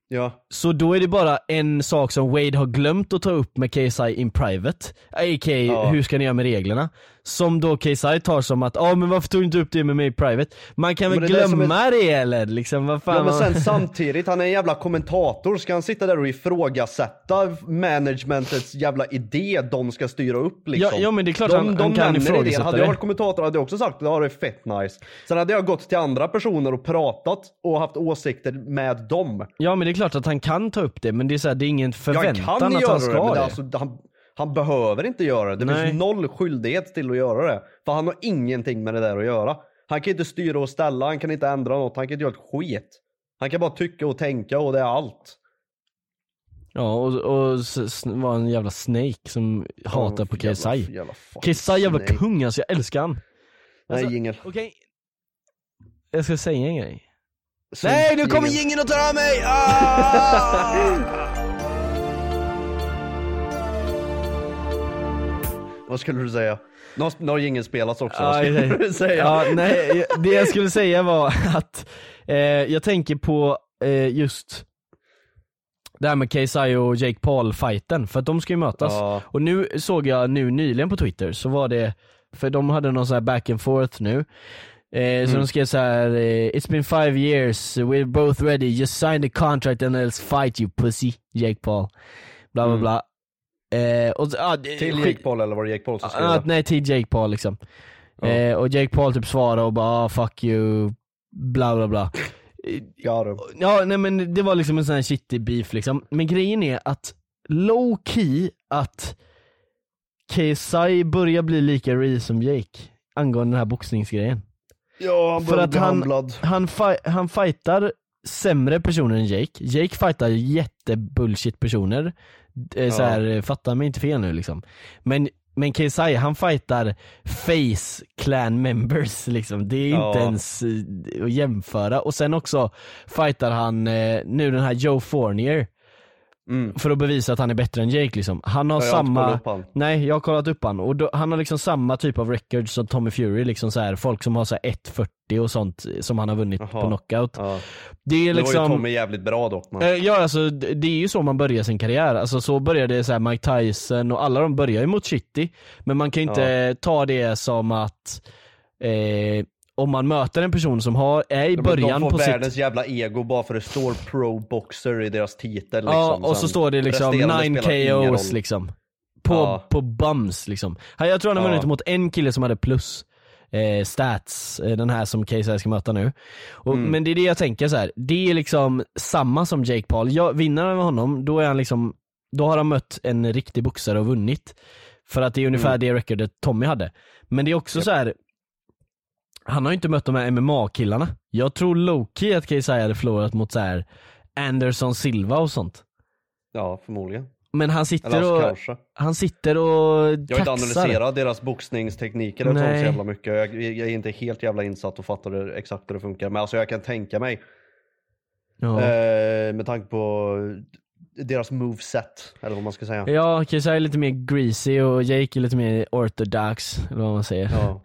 B: Ja.
A: Så då är det bara en sak som Wade har glömt att ta upp med KSI in private, a.k.
B: Ja.
A: hur ska ni göra med reglerna? Som då KSI tar som att ja men varför tog du inte upp det med mig i private? Man kan
B: Men
A: väl
B: det där som
A: glömma det eller liksom vad fan
B: Ja men
A: man-
B: sen samtidigt, han är en jävla kommentator. Ska han sitta där och ifrågasätta managementets jävla idé de ska styra upp liksom?
A: Ja- ja, men det är klart
B: de,
A: han- han kan
B: nämner idén.
A: ifrågasätta
B: Hade jag
A: det.
B: varit kommentator hade jag också sagt det här är fett nice. Sen hade jag gått till andra personer och pratat och haft åsikter med dem.
A: Ja men det är klart att han kan ta upp det men det är, så här, det är ingen
B: Jag
A: förväntan
B: kan
A: att
B: göra
A: han
B: det,
A: ska
B: men
A: det.
B: det, alltså, han, han behöver inte göra det. Det
A: Nej.
B: finns noll skyldighet till att göra det. För han har ingenting med det där att göra. Han kan inte styra och ställa, han kan inte ändra något, han kan inte göra ett skit. Han kan bara tycka och tänka och det är allt.
A: Ja och, och s- s- var en jävla snake som hatar på KSI.
B: Jävla- jävla fuck.
A: KSI är jävla
B: Nej.
A: kung alltså, jag älskar han.
B: Nej,
A: Alltså,
B: jingel.
A: Okej, jag ska säga en grej.
B: Synd,
A: Nej nu kommer
B: jingel.
A: jingeln och tar av mig! Ah!
B: Vad skulle du säga? Nu har- Nu har jingeln spelats också, vad
A: Aj,
B: skulle
A: nej.
B: du säga?
A: Ja, nej, det jag skulle säga var att eh, jag tänker på eh, just det här med KSI och Jake Paul fighten för att de ska ju mötas.
B: Ja.
A: Och nu såg jag nu nyligen på Twitter så var det, för de hade någon sån här back and forth nu. Eh,
B: Mm.
A: Så de skrev så här: eh, It's been five years, we're both ready, just sign the contract and let's fight you pussy, Jake Paul. Bla bla bla. Eh, och, så- ah, det-
B: Mm. Till
A: skit-
B: Jake Paul eller var det Jake Paul som skrev
A: Ja,
B: det?
A: nej till Jake Paul liksom. Eh, och Jake Paul typ svarar och bara ah, 'fuck you' bla bla bla.
B: Got him.
A: Ja nej men det var liksom en sån här shitty beef liksom. Men grejen är att low key att KSI börjar bli lika real som Jake angående den här boxningsgrejen.
B: Ja, han
A: För
B: började
A: att
B: bli
A: han,
B: handlad.
A: han, fi- han fightar sämre personer än Jake. Jake fightar jättebullshit personer. Eh, Så
B: Ja.
A: här, eh, fatta mig inte fel nu liksom. Men, men KSI han fightar face clan members liksom. Det är
B: Ja.
A: inte ens eh, att jämföra. Och sen också fightar han eh, nu den här Joe Fournier.
B: Mm.
A: För att bevisa att han är bättre än Jake liksom. Han har
B: Ja, jag har inte
A: samma...
B: kollat upp han.
A: Nej, jag har kollat upp han och då, han har liksom samma typ av records som Tommy Fury liksom så här, folk som har så här 1.40 och sånt som han har vunnit på knockout. Det är
B: Det var
A: liksom...
B: ju Tommy jävligt bra dock. Men...
A: Eh, Ja alltså det det är ju så man börjar sin karriär, alltså så började så här Mike Tyson och alla de börjar ju mot Shitty. Men man kan ju inte
B: Ja.
A: eh, ta det som att eh, om man möter en person som har, är i
B: De-
A: början
B: de
A: på
B: får
A: sitt...
B: världens jävla ego bara för det står pro boxer i deras titel.
A: Ja
B: Liksom.
A: och så
B: Sen
A: står det liksom
B: resterande
A: 9
B: spelar ingen
A: KOs
B: roll.
A: liksom. På,
B: Ja.
A: på bums liksom. Han- Jag tror han har
B: Ja.
A: vunnit mot en kille som hade plus eh, stats, eh, den här som KSI ska möta nu. Och,
B: Mm.
A: Men det är det jag tänker så här. det är liksom samma som Jake Paul. Jag, vinner han med honom, då är han liksom, då har han mött en riktig boxare och vunnit. För att det är
B: Mm.
A: ungefär det recordet Tommy hade. Men det är också så här. han har ju inte mött de här MMA-killarna. Jag tror Loki att KSI hade förlorat mot så här Anderson Silva och sånt.
B: Ja, förmodligen.
A: Men han
B: Eller
A: sitter
B: alltså
A: och,
B: kanske.
A: han sitter och
B: Jag har inte
A: kaxar.
B: analyserat deras boxningstekniker eller sånt
A: Nej.
B: så jävla mycket. Jag, jag är inte helt jävla insatt och fattar hur, exakt hur det funkar. Men alltså jag kan tänka mig,
A: Ja.
B: eh, med tanke på deras moveset, eller vad man ska säga.
A: Ja, KSI är lite mer greasy och Jake är lite mer orthodox, eller vad man säger.
B: Ja.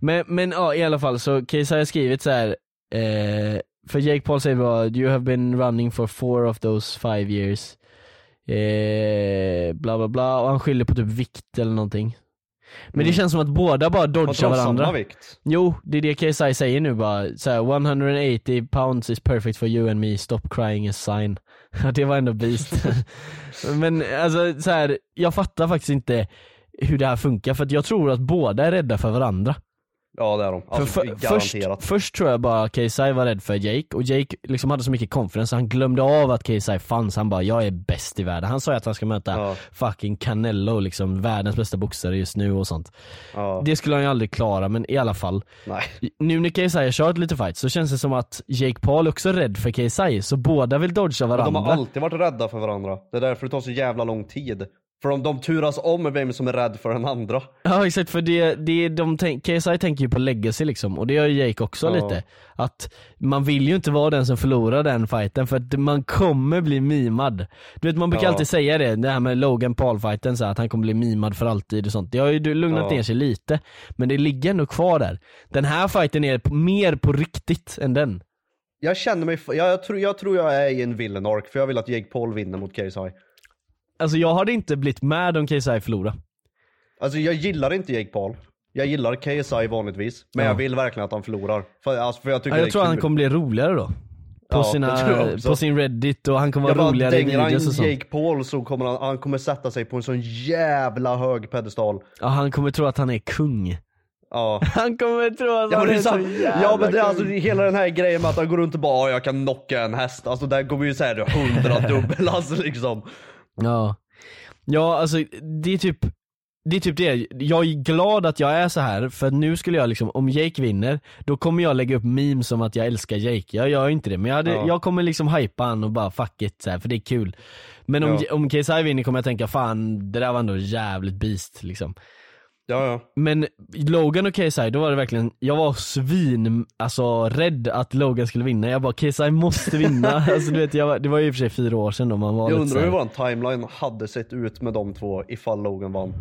A: Men, men ja, i alla fall så KSI har skrivit så här. Eh, för Jake Paul säger vad, you have been running for four of those five years. Eh, bla bla bla, och han skyller på typ vikt eller någonting. Men det känns som att båda bara
B: Har inte
A: dodgar
B: de
A: varandra.
B: samma vikt?
A: Jo, det är det KSI säger nu bara. Så här, 180 pounds is perfect for you and me, stop crying is sign. (laughs) Ja, det var ändå
B: (laughs)
A: beast. Men alltså så här, jag fattar faktiskt inte hur det här funkar för att jag tror att båda är rädda för varandra.
B: Ja det är de.
A: För,
B: Alltså,
A: för, först,
B: garanterat.
A: först tror jag bara KSI var rädd för Jake och Jake liksom hade så mycket confidence så han glömde av att KSI fanns. Han bara jag är bäst i världen. Han sa ju att han ska möta fucking Canelo liksom, världens bästa boxare just nu och sånt.
B: Ja.
A: Det skulle han ju aldrig klara men i alla fall.
B: Nej.
A: Nu när KSI har kört lite fight så känns det som att Jake Paul också är rädd för KSI så båda vill dodga
B: Men
A: varandra.
B: De har alltid varit rädda för varandra. Det är därför det tar så jävla lång tid. För de, de turas om med vem som är rädd för den andra.
A: Ja exakt för det, det de tänk, KSI tänker ju på legacy liksom och det gör ju Jake också
B: Ja.
A: lite. Att man vill ju inte vara den som förlorar den fighten för att man kommer bli mimad. Du vet man brukar
B: Ja.
A: alltid säga det, det här med Logan Paul fighten så här, att han kommer bli mimad för alltid och sånt. Det har ju du- lugnat
B: Ja.
A: ner sig lite men det ligger ändå kvar där. Den här fighten är på, mer på riktigt än den.
B: Jag känner mig, jag, jag, tror, jag tror jag är i en villain arc för jag vill att Jake Paul vinner mot KSI.
A: Alltså jag hade inte blivit med om KSI förlorade.
B: Alltså jag gillar inte Jake Paul. Jag gillar KSI vanligtvis, men
A: Ja.
B: jag vill verkligen att han förlorar. För, alltså, för jag tycker
A: Ja,
B: det
A: jag
B: är
A: tror
B: kul.
A: han kommer bli roligare då. På,
B: Ja, det
A: sina,
B: tror jag också.
A: på sin reddit och han kommer
B: jag
A: vara
B: bara,
A: roligare i
B: dänger han
A: videos och sånt.
B: Jake Paul så kommer han, han kommer sätta sig på en sån jävla hög pedestal.
A: Ja, han kommer tro att han är
B: (laughs)
A: kung.
B: Ja.
A: Han kommer tro att
B: Ja
A: han
B: men,
A: är,
B: det är
A: så
B: så,
A: jävla
B: ja, men det,
A: kung.
B: alltså, hela den här grejen med att han går runt och bara "Ja, jag kan knocka en häst. Alltså där kommer ju såhär hundra dubbel (laughs) alltså liksom.
A: Ja. ja, alltså det är typ det är typ det, jag är glad att jag är så här för nu skulle jag liksom, om Jake vinner, då kommer jag lägga upp memes om att jag älskar Jake. Jag gör inte det men jag, hade,
B: Ja.
A: jag kommer liksom hypa han och bara fuck it så här, för det är kul. Men om,
B: Ja.
A: om KSI vinner kommer jag tänka fan det där var ändå jävligt beast liksom.
B: Ja ja.
A: Men Logan och KSI, då var det verkligen, jag var svin, alltså rädd att Logan skulle vinna. Jag bara KSI måste
B: (laughs)
A: vinna. alltså, du vet, jag var, det var ju i och för sig fyra år sedan då man var
B: Jag
A: lite så
B: undrar
A: här-
B: hur våran timeline hade sett ut med de två ifall Logan vann.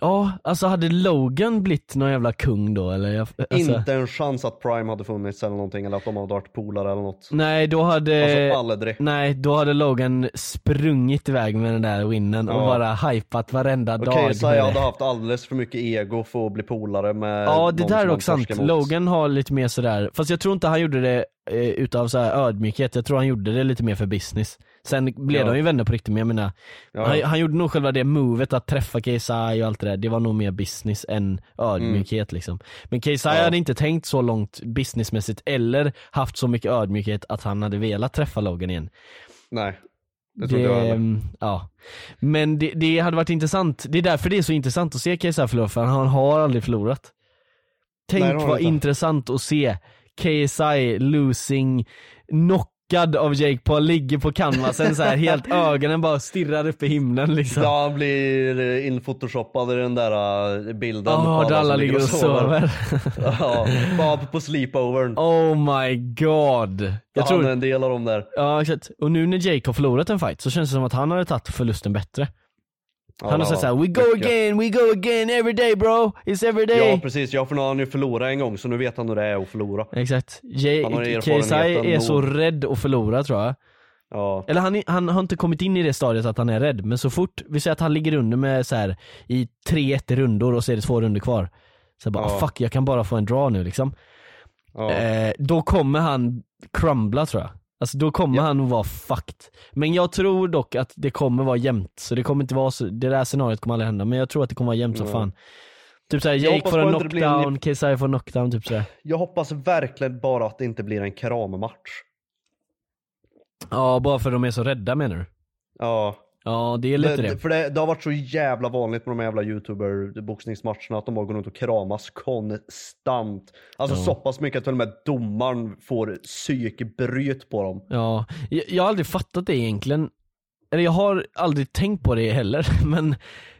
A: Ja, alltså hade Logan blivit någon jävla kung då eller? Jag, alltså,
B: Inte en chans att Prime hade funnits eller någonting eller att de hade varit polare eller något.
A: Nej då hade,
B: Alltså aldrig.
A: nej då hade Logan sprungit iväg med den där winnen och
B: Ja.
A: bara hypat varenda dag.
B: Okej, så
A: med
B: jag
A: det.
B: hade haft alldeles för mycket ego för att bli polare med
A: Ja det där
B: någon som
A: är
B: han
A: dock sant,
B: torskar mot.
A: Logan har lite mer sådär, fast jag tror inte han gjorde det eh, utav så här ödmjukhet, jag tror han gjorde det lite mer för business. Sen blev
B: Ja.
A: de ju vänner på riktigt men jag menar,
B: Ja.
A: han, han gjorde nog själva det movet att träffa KSI och allt det där, det var nog mer business än ödmjukhet
B: Mm.
A: liksom. Men KSI hade inte tänkt så långt businessmässigt eller haft så mycket ödmjukhet att han hade velat träffa Logan igen.
B: Nej. Det trodde jag heller.
A: mm, ja. Men det, det hade varit intressant, det är därför det är så intressant att se KSI förlora för han har aldrig förlorat.
B: Nej,
A: Tänk
B: det har han
A: vad
B: inte.
A: intressant att se KSI losing, knock, chockad av Jake Paul, ligger på canvasen så
B: (laughs)
A: här helt ögonen bara stirrar upp i himlen liksom.
B: Ja, han blir eh, infotoshoppad i den där eh, bilden.
A: Ja,
B: på
A: där alla
B: som
A: ligger och sover.
B: (laughs) ja, bara på sleepovern.
A: Oh my god. Jag
B: Jag
A: tror,
B: Han är en del av dem där.
A: ja exakt. Och nu när Jake har förlorat en fight så känns det som att han hade tagit förlusten bättre.
B: Ja,
A: han har sagt såhär, we go
B: mycket.
A: again, we go again, every day bro, it's every day.
B: Ja precis, ja för nu har han ju förlorat en gång så nu vet han hur det är att förlora.
A: Exakt.
B: Han har
A: J-
B: erfarenheten
A: KSI är
B: nog.
A: så rädd att förlora tror jag.
B: Ja.
A: Eller han, är- han har inte kommit in i det stadiet att han är rädd, men så fort, vi säger att han ligger under med så här i 3-1 rundor och så är det två runder kvar. Så bara
B: Ja.
A: ah, fuck jag kan bara få en draw nu liksom.
B: Ja.
A: Eh, då kommer han crumbla tror jag. Alltså då kommer han att vara fucked. Men jag tror dock att det kommer vara jämnt, så det kommer inte vara så, det där scenariot kommer aldrig hända, men jag tror att det kommer vara jämnt som
B: Ja.
A: fan. Typ såhär
B: Jag
A: Jake
B: hoppas
A: får
B: bara
A: en
B: inte det blir en
A: knockdown, KSI får en knockdown, typ sådär.
B: Jag hoppas verkligen bara att det inte blir en krammatch.
A: Ja, bara för de är så rädda menar du?
B: Ja.
A: Ja, det är lite
B: Det-
A: det.
B: För det, det har varit så jävla vanligt med de jävla youtuber-boxningsmatcherna att de bara går runt och kramas konstant. Alltså så pass mycket att till och med domaren får psykbryt på dem.
A: Ja, jag, jag har aldrig fattat det egentligen. Eller jag har aldrig tänkt på det heller, (laughs) men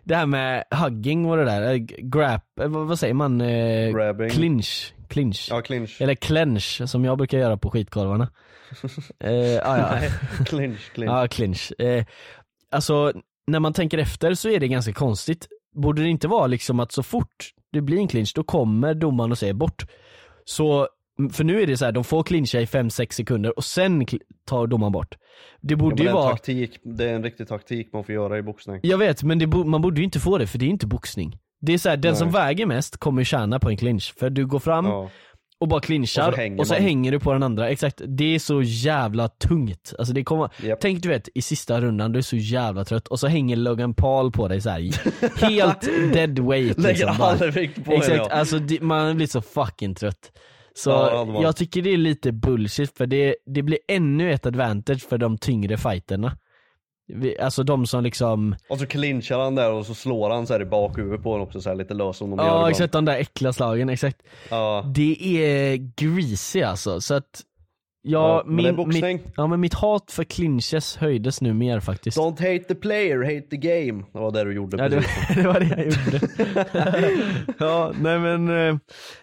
A: det här med hugging och det där, eh, grap, eh, vad, vad säger man? Eh,
B: Grabbing.
A: Clinch. Clinch.
B: Ja, clinch.
A: Eller clench som jag brukar göra på
B: (laughs)
A: skitkorvarna. eh, ah, ja.
B: Nej, (laughs) clinch, clinch.
A: ja, clinch. Eh, alltså, när man tänker efter så är det ganska konstigt. Borde det inte vara liksom att så fort det blir en clinch, då kommer domaren och säger bort. Så, för nu är det så här, de får clincha i 5-6 sekunder och sen kl- tar domaren bort. Det Mm.
B: Ja, men
A: borde
B: det, är
A: ju
B: en
A: vara,
B: taktik, det är en riktig taktik man får göra i boxning.
A: jag vet men det bo, man borde ju inte få det för det är inte boxning. Det är så här, den
B: Nej.
A: som väger mest kommer ju tjäna på en clinch. För du går fram,
B: Ja.
A: och bara clinchar
B: Och
A: och
B: så
A: så
B: hänger
A: hänger,
B: man.
A: du på den andra, exakt. Det är så jävla tungt. Alltså det kommer,
B: Japp.
A: Tänk du vet i sista rundan, du är så jävla trött och så hänger Logan Paul på dig så här.
B: (laughs)
A: helt dead weight liksom,
B: Lägger
A: bara.
B: all vikt på en,
A: Exakt,
B: ja.
A: alltså det, man blir så fucking trött. Så
B: Ja, det hade man.
A: jag tycker det är lite bullshit för det, det blir ännu ett advantage för de tyngre fighterna. Vi, alltså de som liksom,
B: Och så clinchar han där och så slår han så här i bakhuvudet på honom också så här lite lös som de gör
A: ja
B: ibland.
A: exakt de där äckliga slagen, exakt.
B: Ja.
A: Det är greasy alltså, så att
B: Ja,
A: Ja,
B: men det är
A: min,
B: boxning.
A: mitt, ja men mitt hat för clinches höjdes nu mer faktiskt.
B: Don't hate the player, hate the game. Det var det du gjorde
A: Ja, det, (laughs)
B: precis.
A: det var det jag gjorde. (laughs) ja, nej men, eh,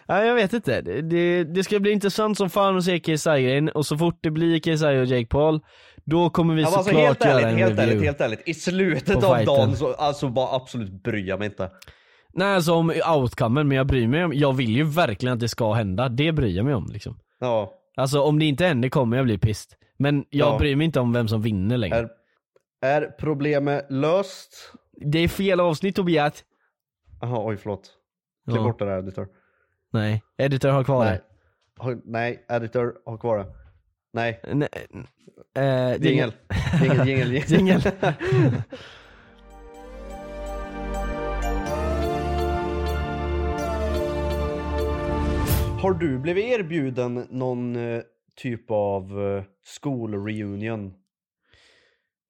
A: nej, jag vet inte. Det, det, det ska bli intressant som fan att se KSI-grejen och så fort det blir KSI och Jake Paul, då kommer vi
B: Ja, men alltså,
A: såklart
B: helt
A: göra
B: ärligt,
A: en
B: helt
A: review.
B: ärligt, helt ärligt. I slutet
A: På
B: av
A: fighten.
B: dagen så alltså, bara absolut bryr jag mig inte.
A: Nej alltså om outcomen, men jag bryr mig om, jag vill ju verkligen att det ska hända. Det bryr jag mig om liksom.
B: Ja,
A: Alltså om det inte händer kommer jag bli pissed. Men jag
B: Ja.
A: bryr mig inte om vem som vinner längre.
B: är, är problemet löst?
A: Det är fel avsnitt Tobias.
B: Jaha, oj förlåt. Klipp
A: Ja.
B: bort det där editor.
A: Nej, editor har kvar
B: Nej.
A: det.
B: Ha, nej, editor, ha kvar det. Nej,
A: Nej. Eh,
B: jingel. Jingel, jingel, jingel.
A: (laughs) Jingel.
B: Har du blivit erbjuden någon eh, typ av eh, skolreunion?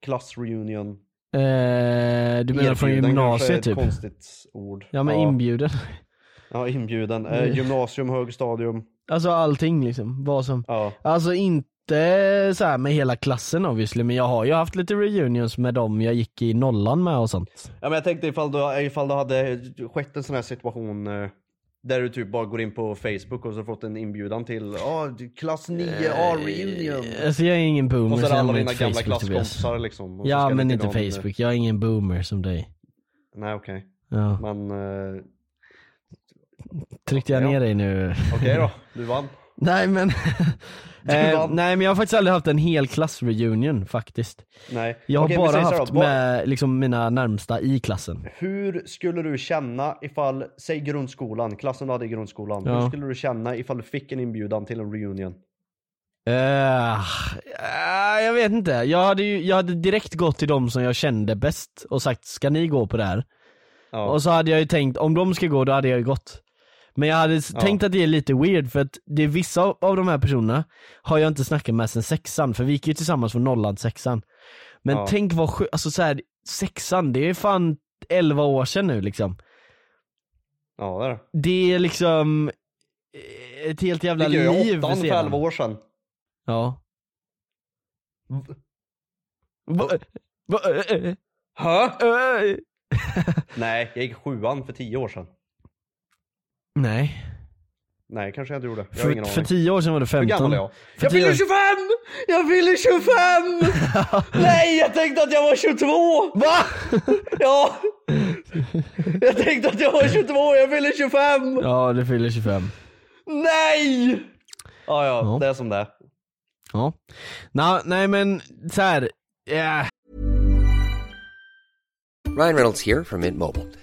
B: Klassreunion?
A: Eh, du menar från
B: Erbjuden kanske är
A: gymnasiet
B: ett
A: typ?
B: konstigt ord.
A: Ja men Mm. inbjuden. (laughs)
B: Ja, inbjuden. Eh, gymnasium, högstadium.
A: Alltså allting liksom, vad som.
B: Ja.
A: Alltså inte så här med hela klassen obviously, men jag har ju haft lite reunions med dem jag gick i nollan med och sånt.
B: Ja, men jag tänkte ifall du, ifall du hade skett en sån här situation eh, där du typ bara går in på Facebook och så fått en inbjudan till ah, klass 9A reunion.
A: Alltså Eh, jag är ingen boomer
B: Och så är
A: så
B: det
A: jag
B: alla
A: använder
B: dina
A: inte
B: gamla
A: Facebook, Tobias.
B: klasskompisar liksom. Och så
A: Ja
B: ska
A: men
B: ni
A: inte
B: till någon-
A: Facebook, jag är ingen boomer som dig.
B: Nej okej.
A: Ja.
B: Men eh,
A: Tryckte jag
B: Ja.
A: ner dig nu?
B: okej då, du vann.
A: Nej men,
B: (laughs)
A: eh,
B: vann.
A: nej men jag har faktiskt aldrig haft en hel klassreunion faktiskt.
B: Nej.
A: Jag har
B: Okej, vi
A: bara
B: säger så här
A: haft
B: då. Vad-
A: med liksom, mina närmsta i klassen.
B: Hur skulle du känna ifall, säg grundskolan, klassen du hade i grundskolan. Hur
A: Ja.
B: skulle du känna ifall du fick en inbjudan till en reunion?
A: Eh, ah, jag vet inte, jag hade, ju, jag hade direkt gått till de som jag kände bäst och sagt ska ni gå på det här?
B: Ja.
A: Och så hade jag ju tänkt om de ska gå då hade jag ju gått. Men jag hade s-
B: Ja.
A: tänkt att det är lite weird för att det är vissa av- av de här personerna har jag inte snackat med sen sexan för vi gick ju tillsammans från nollan till sexan. Men
B: Ja.
A: tänk vad sjukt, alltså så här, sexan det är fan 11 år sedan nu liksom.
B: ja, det är det.
A: Det är liksom eh, ett helt jävla
B: Vilket är
A: liv
B: åttan för
A: sedan.
B: elva år sedan.
A: Ja. Va? Va? Eh,
B: Hä? Nej, jag gick sjuan för tio år sedan.
A: Nej.
B: Nej, kanske jag inte gjorde. Jag har
A: För,
B: ingen
A: för
B: aning.
A: tio år sedan var du 15.
B: Hur gammal är jag?
A: För
B: Jag
A: tio
B: fyller
A: år-
B: 25! Jag fyller
A: (laughs)
B: 25! Nej, jag tänkte att jag var 22!
A: Va?
B: (laughs) Ja! Jag tänkte att jag var 22, jag fyller 25!
A: Ja, du fyller 25.
B: Nej! Ja, ja,
A: Ja.
B: det är som det är.
A: Ja. Nå, nej men så här. eh,
H: Ryan Reynolds here from Mint Mobile.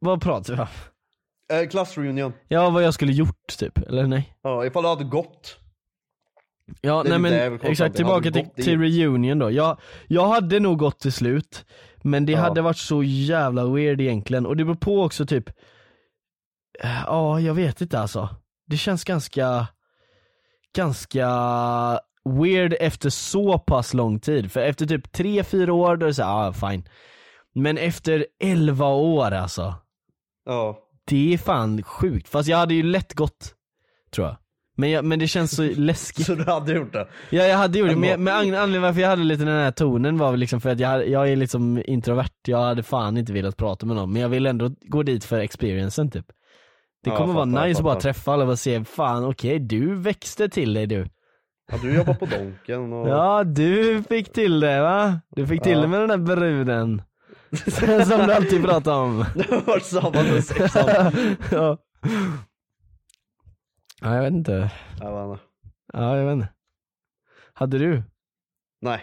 A: vad pratar vi om?
B: Eh, klassreunion.
A: Ja, vad jag skulle gjort typ, eller nej?
B: Ja, ifall du hade gått.
A: Ja,
B: Det
A: nej
B: är lite
A: men
B: det jag vill komma fram
A: exakt
B: till. Hade
A: tillbaka
B: du
A: till,
B: gått dit?
A: till reunion då. Jag, jag hade nog gått till slut, men det hade varit så jävla weird egentligen. Och det beror på också typ, eh, ja jag vet inte alltså. Det känns ganska, ganska weird efter så pass lång tid. För efter typ 3-4 år då är det såhär, ah, fine. Men efter 11 år alltså.
B: Ja.
A: Det är fan sjukt. Fast jag hade ju lätt gått, tror jag. Men, jag, men det känns så (laughs) läskigt.
B: Så du hade gjort det?
A: Ja jag hade gjort det,
B: Ändå.
A: men, men ang- anledningen varför jag hade lite den här tonen var väl liksom för att jag, hade- jag är liksom introvert, jag hade fan inte velat prata med någon men jag vill ändå gå dit för experiencen typ. Det
B: Ja,
A: kommer
B: jag
A: vara
B: fattar, jag
A: nice att bara
B: fattar.
A: träffa alla och se, fan okej du växte till dig du.
B: Ja, du jobbar på Donken och...
A: Ja du fick till det va? Du fick till
B: Ja.
A: det med den där bruden. (laughs) Som du alltid pratar
B: (laughs)
A: om.
B: Det har (laughs) varit samma sen sexan.
A: ja. ja jag vet inte.
B: Jag vet inte.
A: Ja jag vet inte. Hade du?
B: Nej,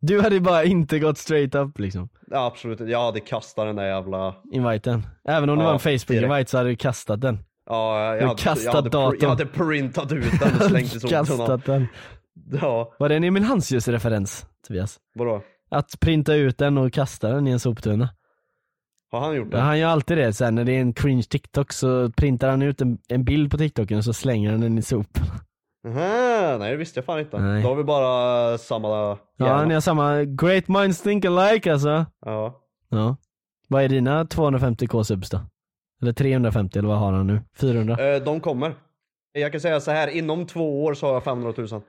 A: Du hade ju bara inte gått straight up liksom.
B: ja, absolut inte. Jag hade kastat den där jävla...
A: inviten. Även om det
B: Ja,
A: var en Facebook-invite så hade du kastat den.
B: Ja,
A: Du
B: jag hade,
A: kastat
B: jag hade, pr-
A: datorn.
B: jag hade printat ut
A: (laughs)
B: den och slängt i soporna.
A: kastat den.
B: Ja,
A: Var det en Emil Hansius-referens Tobias?
B: vadå?
A: Att printa ut den och kasta den i en soptunna.
B: Har han gjort det?
A: Han gör alltid det sen när det är en cringe TikTok så printar han ut en, en bild på TikToken och så slänger han den i soporna.
B: Aha, nej det visste jag fan inte.
A: Nej.
B: Då har vi bara
A: (laughs)
B: samma
A: Ja,
B: hjärna.
A: han
B: Ja,
A: gör samma great minds think alike alltså.
B: ja.
A: Ja. Vad är dina 250k subs då? Eller 350 eller vad har han nu?
B: (laughs)
A: 400?
B: Eh, De kommer. Jag kan säga så här, inom två år så har jag 500 000.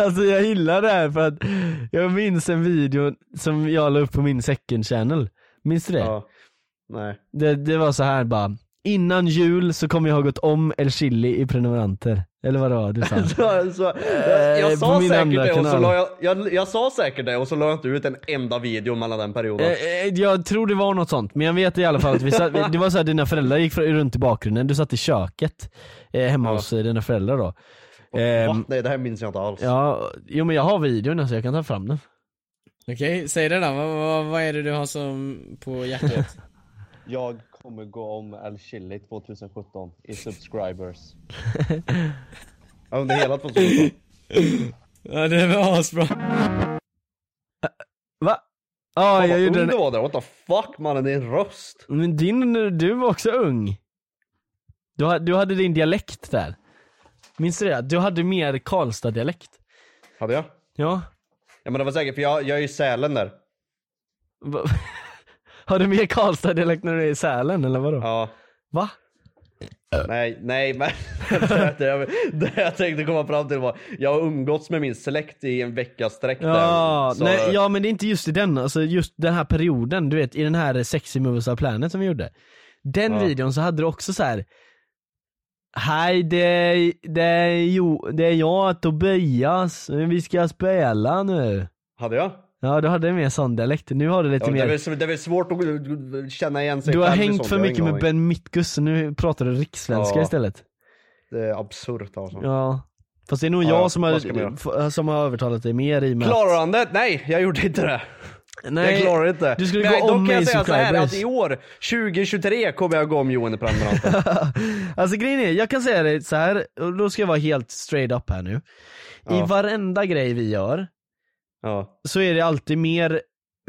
A: Alltså jag gillar det här för att jag minns en video som jag la upp på min second channel. Minns du det?
B: Ja.
A: (laughs)
B: Nej.
A: Det, det var så här bara. Innan jul så kommer jag ha gått om El Chili i prenumeranter. Eller vad det var
B: (laughs)
A: du sa?
B: Så, så, jag,
A: Eh,
B: jag
A: på
B: sa
A: min
B: säkert
A: andra
B: det och så
A: kanal.
B: la jag, jag, jag sa säkert det och så la jag inte ut en enda video mellan den perioden.
A: Eh, eh, Jag tror det var något sånt, men jag vet i alla fall att vi satt, det var så här, dina föräldrar gick fr- runt i bakgrunden, du satt i köket eh, hemma hos dina föräldrar då. Ehm,
B: Va? Nej det här minns jag inte alls.
A: ja, jo men jag har videon alltså, jag kan ta fram den.
I: Okej, säg det då. Vad, vad, vad är det du har som på hjärtat?
B: Jag kommer gå om El Chili 2017 i subscribers. Under hela 2017.
I: ja, det var asbra.
A: Va? (laughs) Ja,
B: Fan,
A: jag
B: vad
A: gjorde
B: ung
A: den
B: du var där, what the fuck mannen din röst.
A: Men din, du var också ung. Du, ha- du hade din dialekt där. Minns du det? Du hade mer Karlstad-dialekt.
B: Hade jag?
A: Ja.
B: Ja men det var säkert för jag, jag är ju i Sälen där.
A: Va- (laughs) Har du mer Karlstad-dialekt när du är i Sälen eller vadå?
B: Ja.
A: Va?
B: Nej, nej men (laughs) det, jag, det jag tänkte komma fram till var, jag har umgåtts med min släkt i en vecka sträck
A: Ja,
B: där. Så,
A: nej, ja men det är inte just i den, alltså just den här perioden, du vet i den här sexy moves of planet som vi gjorde. Den
B: Ja.
A: videon så hade du också så här Hej, det är, det, är, jo, det är jag Tobias. Vi ska spela nu.
B: Hade jag?
A: Ja, du hade mer sån dialekt. Nu har du lite
B: Ja, men det,
A: mer...
B: är väl, det är väl svårt att känna igen sig
A: Du har
B: själv i
A: hängt
B: sånt,
A: för
B: jag har
A: mycket
B: ingen
A: med
B: aning.
A: Ben Mitkus, så nu pratar du rikssvenska
B: Ja.
A: istället.
B: Det är absurt alltså.
A: Ja. Fast det är nog
B: Ja, ja,
A: jag som har,
B: vad ska man göra?
A: f- eh, som har övertalat dig mer i och med att-
B: Klarar han det? Nej, jag gjorde inte det.
A: Nej,
B: jag klarar inte.
A: du skulle
B: Men
A: gå
B: dock
A: om
B: kan jag
A: mig i
B: säga så här alltså, att
A: subscribers.
B: i år, 2023, kommer jag gå om Johan i prenumeranten.
A: (laughs) Alltså grejen är, jag kan säga det så här och då ska jag vara helt straight up här nu. I
B: Ja.
A: varenda grej vi gör, så är det alltid mer,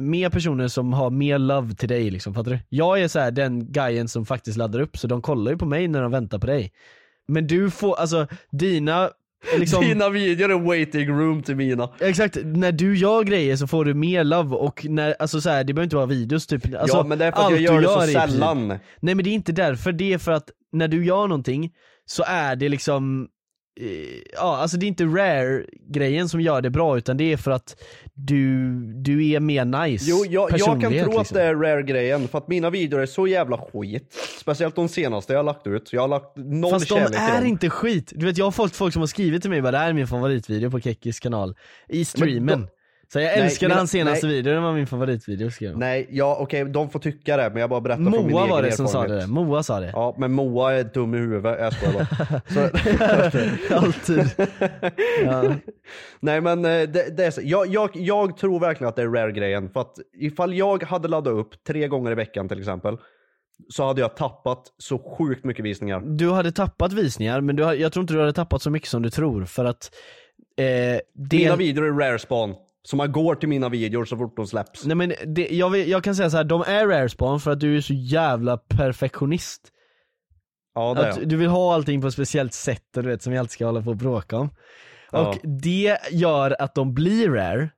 A: mer personer som har mer love till dig liksom, fattar du? Jag är så här den guyen som faktiskt laddar upp, så de kollar ju på mig när de väntar på dig. Men du får, alltså dina, liksom
B: Dina videor är waiting room till mina.
A: Exakt, när du gör grejer så får du mer love och när, alltså så här, det behöver inte vara videos typ. Alltså,
B: Ja, men det är för att
A: allt
B: jag gör
A: du
B: det så
A: är i princip-
B: sällan.
A: Nej men det är inte därför, det är för att när du gör någonting så är det liksom eh, Ja, alltså det är inte rare-grejen som gör det bra utan det är för att du, du är mer nice
B: Jo, jag, jag kan
A: personlighet,
B: tro att
A: liksom.
B: det är rare-grejen, för att mina videor är så jävla skit. Speciellt de senaste jag har lagt ut. Jag har lagt noll
A: Fast de
B: kärlek till
A: är
B: dem.
A: inte skit, du vet jag har fått folk som har skrivit till mig bara det här är min favoritvideo på Kekkis kanal I streamen
B: då-
A: Så jag
B: Nej,
A: älskade
B: mina-
A: hans senaste
B: nej.
A: video, den var min favoritvideo skrev jag.
B: Nej, ja okej, de får tycka det, men jag bara berättar från min
A: Moa
B: egen
A: var det som sa
B: erfarenhet.
A: det, Moa sa det
B: Ja, men Moa är dum i huvudet. Jag skojar
A: (laughs)
B: bara. Så...
A: Alltid
B: Nej men eh, det, det är så. Jag, jag, jag tror verkligen att det är rare-grejen. För att ifall jag hade laddat upp tre gånger i veckan till exempel, så hade jag tappat så sjukt mycket visningar.
A: Du hade tappat visningar men du, har- jag tror inte du hade tappat så mycket som du tror för att eh, det...
B: Mina videor är rare spawn. Så man går till mina videor så fort de släpps.
A: Nej men det, jag, vill- jag kan säga så här, de är rare spawn för att du är så jävla perfektionist
B: Ja, det är
A: att
B: jag.
A: Du vill ha allting på ett speciellt sätt och du vet som vi alltid ska hålla på och bråka om
B: Ja.
A: Och det gör att de blir rare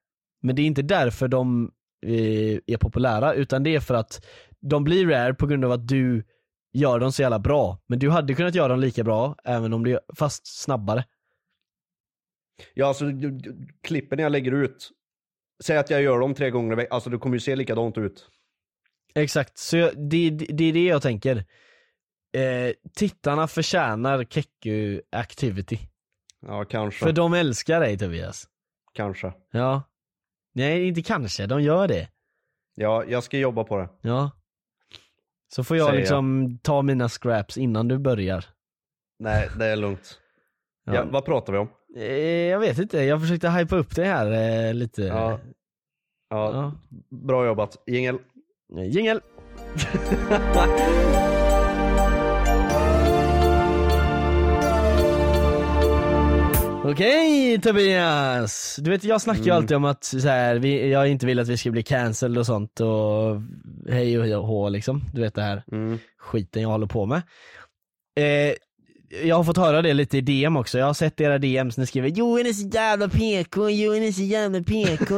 A: Men det är inte därför de eh, är populära utan det är för att de blir rare på grund av att du gör dem så jävla bra Men du hade kunnat göra dem lika bra även om du, fast snabbare
B: Ja, alltså, du- du- klippen jag lägger ut, säg att jag gör dem tre gånger i veckan, alltså det kommer ju se likadant ut.
A: Exakt, så jag, det, det, det är det jag tänker. Eh, tittarna förtjänar Keku activity.
B: Ja, kanske.
A: För de älskar dig Tobias.
B: Kanske.
A: Ja. Nej, inte kanske, de gör det.
B: Ja, jag ska jobba på det.
A: Ja. Så får jag
B: Säger jag.
A: liksom ta mina scraps innan du börjar.
B: Nej, det är lugnt.
A: Ja.
B: Ja. vad pratar vi om?
A: Eh, jag vet inte, jag försökte hypa upp det här eh, lite.
B: Ja. Ja, Bra jobbat. Jingel.
A: Jingel. (laughs) Okej Tobias! Du vet jag snackar ju
B: Mm.
A: alltid om att så här, vi, jag inte vill att vi ska bli cancelled och sånt och hej och hå liksom. Du vet det här
B: Mm.
A: skiten jag håller på med. Eh, jag har fått höra det lite i DM också, jag har sett era DMs, ni skriver 'Johan är så jävla PK, Johan är så jävla
B: (laughs)
A: PK'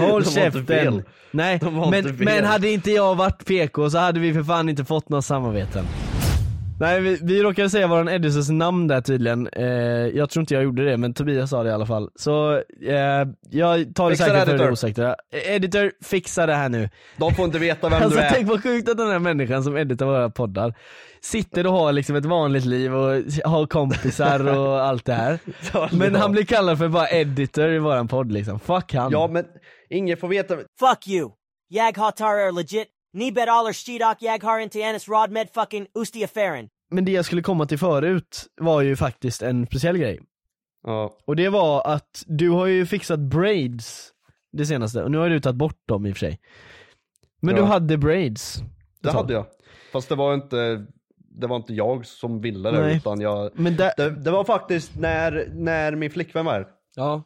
A: Håll
B: De har inte fel.
A: käften! Nej,
B: De har
A: men,
B: inte fel.
A: men hade inte jag varit PK så hade vi för fan inte fått några samarbeten. Nej vi, vi råkade säga våran Eddises namn där tydligen, eh, jag tror inte jag gjorde det men Tobias sa det i alla fall. Så eh, jag tar det
B: Fixar
A: säkert för det
B: editor.
A: osäkra. Eh, Editor, fixa det här nu.
B: De får inte veta vem
A: Alltså
B: du är.
A: tänk vad sjukt att den här människan som editar våra poddar sitter och har liksom ett vanligt liv och har kompisar och allt det
B: (laughs)
A: här. Men han blir kallad för bara editor i våran podd liksom. Fuck han.
B: Ja, men ingen får veta.
F: Fuck you. Yagha Tara are legit. Nibet Aller Shidok Yaghar into Annis Rodmed fucking Ustia Farron.
A: Men det jag skulle komma till förut var ju faktiskt en speciell grej.
B: Ja.
A: Och det var att du har ju fixat braids det senaste, och nu har du tagit bort dem i och för sig. Men
B: Ja.
A: du hade braids.
B: Det hade jag. Fast det var inte, det var inte jag som ville det
A: Nej.
B: utan jag...
A: Men där-
B: det, det var faktiskt när, när min flickvän var här.
A: Ja.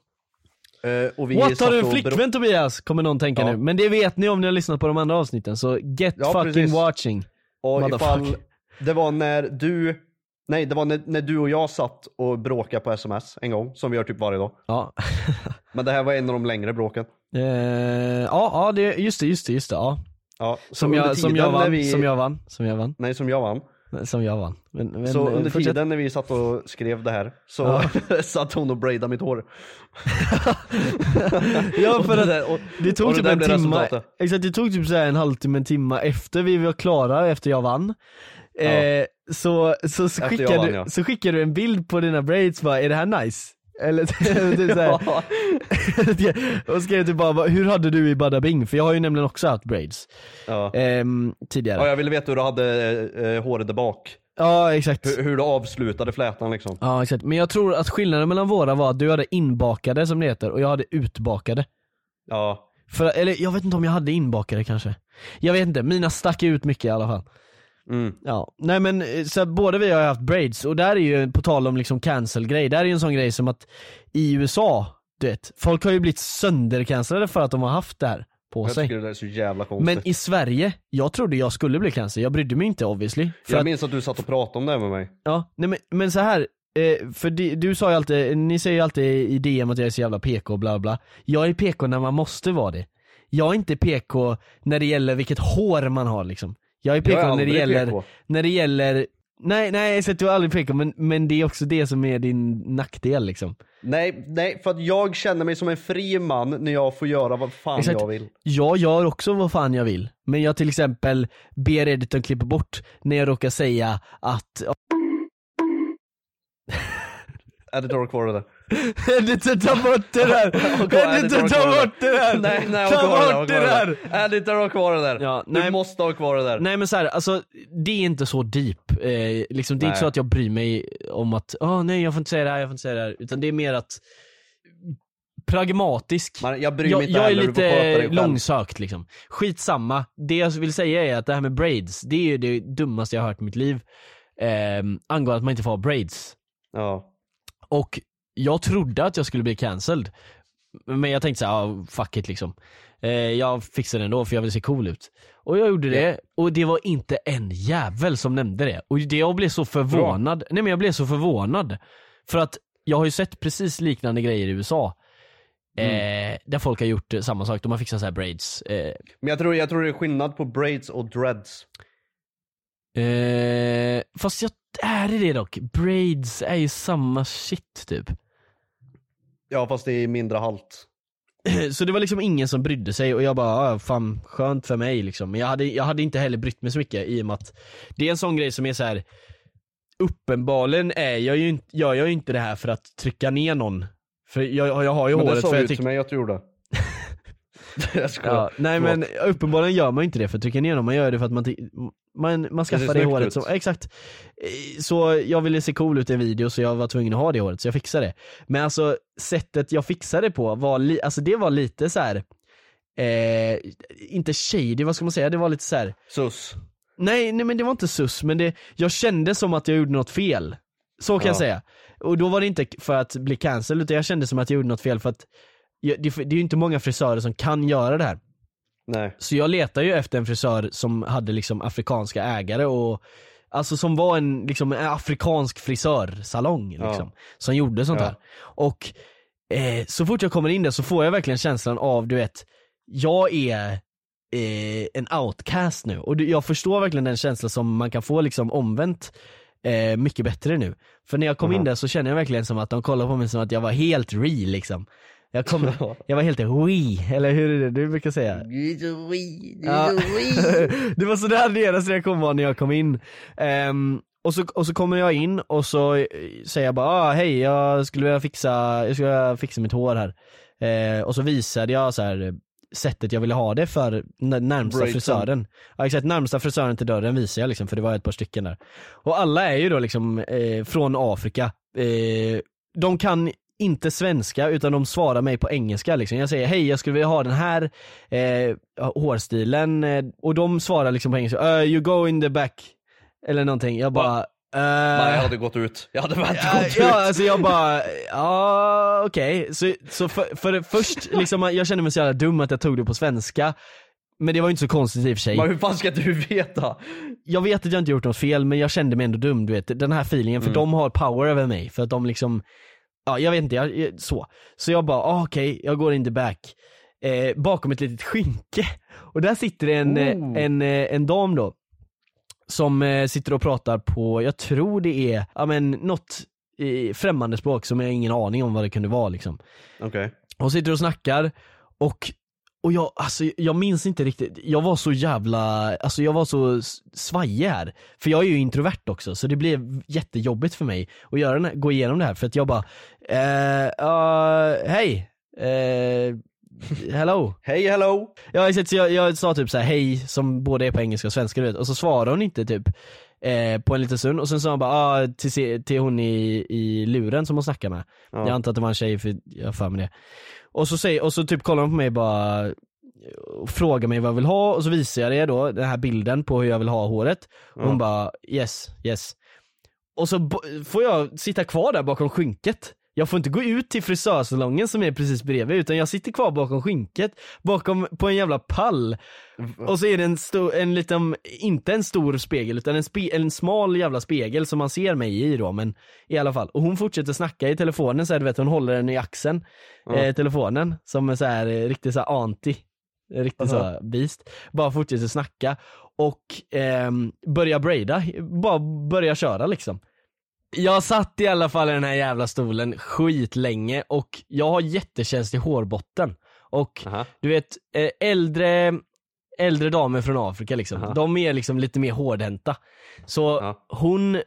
B: Eh, Och vi
A: What
B: satt
A: har du en
B: och
A: flickvän
B: bero-
A: Tobias? Kommer någon tänka
B: Ja.
A: nu. Men det vet ni om ni har lyssnat på de andra avsnitten, så get
B: Ja,
A: fucking
B: precis.
A: watching.
B: Och ifall,
A: Motherfucker.
B: det var när du, nej det var när, när du och jag satt och bråkade på sms en gång, som vi gör typ varje dag.
A: Ja. (laughs)
B: Men det här var en av de längre bråken.
A: Eh, ja, ja det, just det, just det, just det. Ja.
B: Ja, så
A: Som,
B: under
A: jag, som, jag
B: tiden när
A: vann,
B: vi-
A: som jag vann, som jag vann,
B: Nej, som jag vann.
A: som jag vann. Men, men,
B: så
A: eh,
B: under
A: fortsätt.
B: tiden när vi satt och skrev det här så (laughs) satt hon och braidade
A: (laughs)
B: mitt hår.
A: Ja
B: Och
A: för
B: det
A: att
B: där- och-
A: det tog
B: och det
A: typ
B: där
A: en
B: blev
A: timme,
B: resultatet.
A: exakt det tog typ så här en halvtimme, en timme efter vi var klara efter jag vann Eh, så, så, så,
B: Efter
A: skickar
B: jag vann,
A: du,
B: ja.
A: så skickar du en bild på dina braids bara, är det här nice? Eller (laughs) typ
B: Ja.
A: såhär. (laughs) och skrev typ bara, hur hade du i Bada Bing? För jag har ju nämligen också haft braids.
B: Ja.
A: Ehm, tidigare.
B: Ja, jag ville veta hur du hade eh, eh, håret där bak.
A: Ja, exakt.
B: Hur, hur du avslutade flätan liksom.
A: Ja exakt, men jag tror att skillnaden mellan våra var att du hade inbakade som det heter och jag hade utbakade.
B: Ja.
A: För, eller jag vet inte om jag hade inbakade kanske. Jag vet inte, mina stack ut mycket i alla fall.
B: Mm.
A: Ja, nej men eh, så här, båda vi har ju haft braids och där är ju, på tal om liksom cancel-grej, där är ju en sån grej som att i USA, du vet, folk har ju blivit söndercancellade för att de har haft det här på
B: Jag
A: sig.
B: tycker det där är så jävla konstigt.
A: Men i Sverige, jag trodde jag skulle bli cancel, jag brydde mig inte obviously. För
B: jag
A: att-
B: minns att du satt och pratade om det här med mig.
A: Ja, nej men, men så här eh, för di, du sa ju alltid, ni säger ju alltid i DM att jag är så jävla PK och bla bla. Jag är PK när man måste vara det. Jag är inte PK när det gäller vilket hår man har liksom. Jag är
B: Jag är
A: PK när det
B: aldrig
A: gäller,
B: PK.
A: när det gäller, nej nej exakt du är aldrig PK men, men det är också det som är din nackdel liksom.
B: Nej, nej, för att jag känner mig som en fri man när jag får göra vad fan
A: Exakt.
B: jag vill.
A: Jag gör också vad fan jag vill. Men jag till exempel ber editorn klippa bort när jag råkar säga att
B: Editor
A: (laughs)
B: kvar det där.
A: Editor ta bort det
B: (laughs)
A: där! Editor ta bort det där!
B: Nej, nej,
A: ta
B: ha kvar
A: bort det där!
B: där! Editor ha kvar det där!
A: nej.
B: Du måste ha kvar det där.
A: Nej men så här, alltså det är inte så deep. Eh, liksom, det är
B: Nej.
A: inte så att jag bryr mig om att, åh nej jag får inte säga det här, jag får inte säga det här. Utan det är mer att pragmatisk.
B: jag bryr mig
A: jag,
B: inte
A: jag är
B: heller, du får sköta dig
A: lite
B: själv.
A: långsökt liksom. Skitsamma. Det jag vill säga är att det här med braids, det är ju det dummaste jag har hört i mitt liv. Eh, angående att man inte får ha braids.
B: Ja.
A: Och jag trodde att jag skulle bli cancelled. Men jag tänkte såhär, ah, fuck it liksom. Eh, jag fixar det ändå för jag vill se cool ut. Och jag gjorde det, och det var inte en jävel som nämnde det. Och det, jag blev så förvånad. Nej men jag blev så förvånad. För att jag har ju sett precis liknande grejer i USA. Eh, där folk har gjort eh, samma sak, de har fixat så här braids. Eh,
B: Men jag tror, jag tror det är skillnad på braids och dreads.
A: eh, fast jag, är det det dock? Braids är ju samma shit typ.
B: Ja, fast det är mindre halt.
A: (clears throat) Så det var liksom ingen som brydde sig och jag bara, ah, fan skönt för mig liksom. Men jag hade, jag hade inte heller brytt mig så mycket i och med att det är en sån grej som är så här. uppenbarligen är jag ju inte, gör jag ju inte det här för att trycka ner någon. För jag, jag har ju
B: Men det
A: håret
B: sa
A: för
B: du
A: jag
B: till
A: tyckte...
B: mig att
A: (laughs)
B: du gjorde. jag skojar.
A: Ja, nej
B: Förlåt.
A: men uppenbarligen gör man ju inte det för att trycka ner någon, man gör det för att man, ty- man, man
B: ser
A: skaffar det,
B: snyggt
A: håret
B: ut.
A: som, exakt. Eh, Så jag ville se cool ut i en video så jag var tvungen att ha det håret så jag fixade det. Men alltså sättet jag fixade det på var, li- alltså det var lite så här. Eh, inte shady, vad ska man säga? Det var lite så här.
B: Sus.
A: Nej, nej men det var inte sus, men det, jag kände som att jag gjorde något fel. Så kan
B: Ja.
A: jag säga. Och då var det inte för att bli cancelled utan jag kände som att jag gjorde något fel för att jag, det, det är ju inte många frisörer som kan göra det här.
B: Nej.
A: Så jag letade ju efter en frisör som hade liksom afrikanska ägare och Alltså som var en, liksom, en afrikansk frisörsalong
B: Ja.
A: liksom, Som gjorde sånt
B: Ja.
A: här. Och eh, så fort jag kommer in där så får jag verkligen känslan av du vet Jag är eh, en outcast nu och du, jag förstår verkligen den känslan som man kan få liksom omvänt eh, mycket bättre nu. För när jag kom in
B: Mhm.
A: där så kände jag verkligen som att de kollade på mig som att jag var helt re liksom. Jag,
B: (laughs)
A: kom, jag var helt we, eller hur är det du brukar säga? Ja. (laughs) det var sådär deras reaktion var när jag kom in. Ehm, och, så, och så kommer jag in och så eh, säger jag bara ah, hej jag skulle vilja fixa, jag skulle vilja fixa mitt hår här. Eh, och så visade jag så här eh, sättet jag ville ha det för n- närmsta
B: Braidsen.
A: frisören. Ja exakt, närmsta frisören till dörren visade jag liksom för det var ett par stycken där. Och alla är ju då liksom eh, från Afrika. Eh, de kan inte svenska utan de svarar mig på engelska liksom. Jag säger hej jag skulle vilja ha den här eh, hårstilen eh, och de svarar liksom på engelska, "Uh, you go in the back. Eller någonting, jag bara eh,
B: Nej, jag hade gått ut. Jag hade väl
A: Ja,
B: gått
A: ja,
B: ut.
A: alltså jag bara, ja okej. Så, så för, för det först, liksom, jag kände mig så jävla dum att jag tog det på svenska. Men det var ju inte så konstigt i och för sig.
B: Men hur fan ska du veta?
A: Jag vet att jag inte gjort något fel men jag kände mig ändå dum du vet, den här feelingen för
B: Mm.
A: de har power över mig för att de liksom, ja jag vet inte, jag, jag- så. Så jag bara, ah, okej, jag går in the back. Eh, bakom ett litet skynke. Och där sitter det en, eh,
B: Oh.
A: en, eh, en dam då. Som eh, sitter och pratar på, jag tror det är, ja men något eh, främmande språk som jag har ingen aning om vad det kunde vara liksom.
B: Okej.
A: Hon sitter och snackar och och jag, alltså, jag minns inte riktigt, jag var så jävla, alltså jag var så s- svajig här. För jag är ju introvert också så det blev jättejobbigt för mig att göra den här, gå igenom det här för att jag bara, eh, eh, hej, eh, hello.
B: hej hello.
A: Ja exakt, så jag, jag sa typ så här hej som både är på engelska och svenska du vet, och så svarade hon inte typ eh, på en liten stund och sen sa hon bara ah, till, se- till hon i, i luren som hon snackar med.
B: Ja.
A: Jag antar att det var en tjej för jag har för mig det. Och så, säger, och så typ kollar hon på mig bara och frågar mig vad jag vill ha och så visar jag det då, den här bilden på hur jag vill ha håret. Och hon
B: Ja.
A: bara yes, yes. Och så bo- får jag sitta kvar där bakom skynket. Jag får inte gå ut till frisörsalongen som är precis bredvid utan jag sitter kvar bakom skynket, bakom, på en jävla pall. Och så är det en, stor, en liten, inte en stor spegel utan en, spe, en smal jävla spegel som man ser mig i då men i alla fall. Och hon fortsätter snacka i telefonen så här, du vet hon håller den i axeln,
B: Ja.
A: eh, telefonen, som en så här eh, riktig så här anti. En Riktigt så här beast. Bara fortsätter snacka och ehm, börja braida, bara börja köra liksom. Jag satt i alla fall i den här jävla stolen skitlänge och jag har jättekänslig hårbotten. Och du vet, eh, äldre, äldre damer från Afrika liksom,
B: Aha.
A: de är liksom lite mer hårdhänta. Så hon
B: Man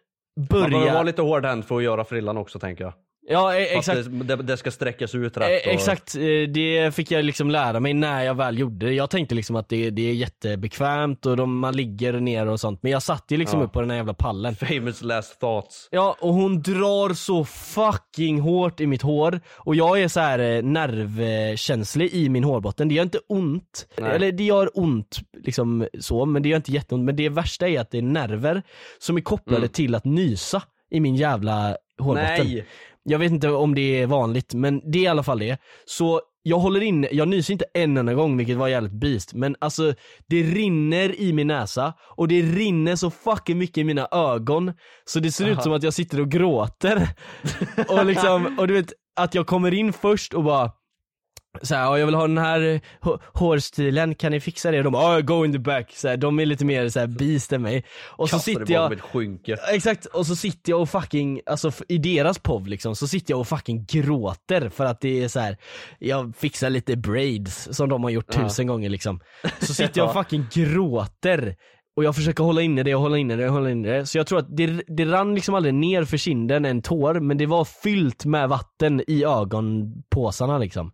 B: behöver vara
A: börjar...
B: lite hårdhänt för att göra frillan också tänker jag.
A: Ja eh,
B: För att
A: exakt.
B: Det, det, det ska sträckas ut
A: Eh,
B: rätt. och-
A: Exakt, eh, det fick jag liksom lära mig när jag väl gjorde det. Jag tänkte liksom att det, det är jättebekvämt och de, man ligger ner och sånt. Men jag satt ju liksom
B: Ja.
A: upp på den här jävla pallen.
B: Famous last thoughts.
A: Ja, och hon drar så fucking hårt i mitt hår. Och jag är så här eh, nervkänslig i min hårbotten. Det gör inte ont.
B: Nej.
A: Eller det gör ont liksom så, men det gör inte jätteont. Men det värsta är att det är nerver som är kopplade
B: Mm.
A: till att nysa i min jävla hårbotten.
B: Nej.
A: Jag vet inte om det är vanligt, men det är i alla fall det. Så jag håller in, jag nyser inte en enda gång vilket var jävligt beast men alltså det rinner i min näsa och det rinner så fucking mycket i mina ögon så det ser ut
B: Aha.
A: som att jag sitter och gråter. och liksom, och du vet att jag kommer in först och bara så här, "Ja, jag vill ha den här eh, hå- hårstilen, kan ni fixa det? Och de bara, "Ja, go in the back, så här, de är lite mer så här beast än mig. Och så
B: Kastar det
A: sitter
B: bakom
A: jag,
B: ett skynke.
A: Exakt, och så sitter jag och fucking, alltså f- i deras POV liksom, så sitter jag och fucking gråter för att det är så här. jag fixar lite braids som de har gjort
B: Ja.
A: tusen gånger liksom.
B: (laughs)
A: Så sitter jag och
B: Ja.
A: fucking gråter och jag försöker hålla inne det och hålla inne det och hålla inne det. Så jag tror att det, det rann liksom aldrig ner för kinden en tår, men det var fyllt med vatten i ögonpåsarna liksom.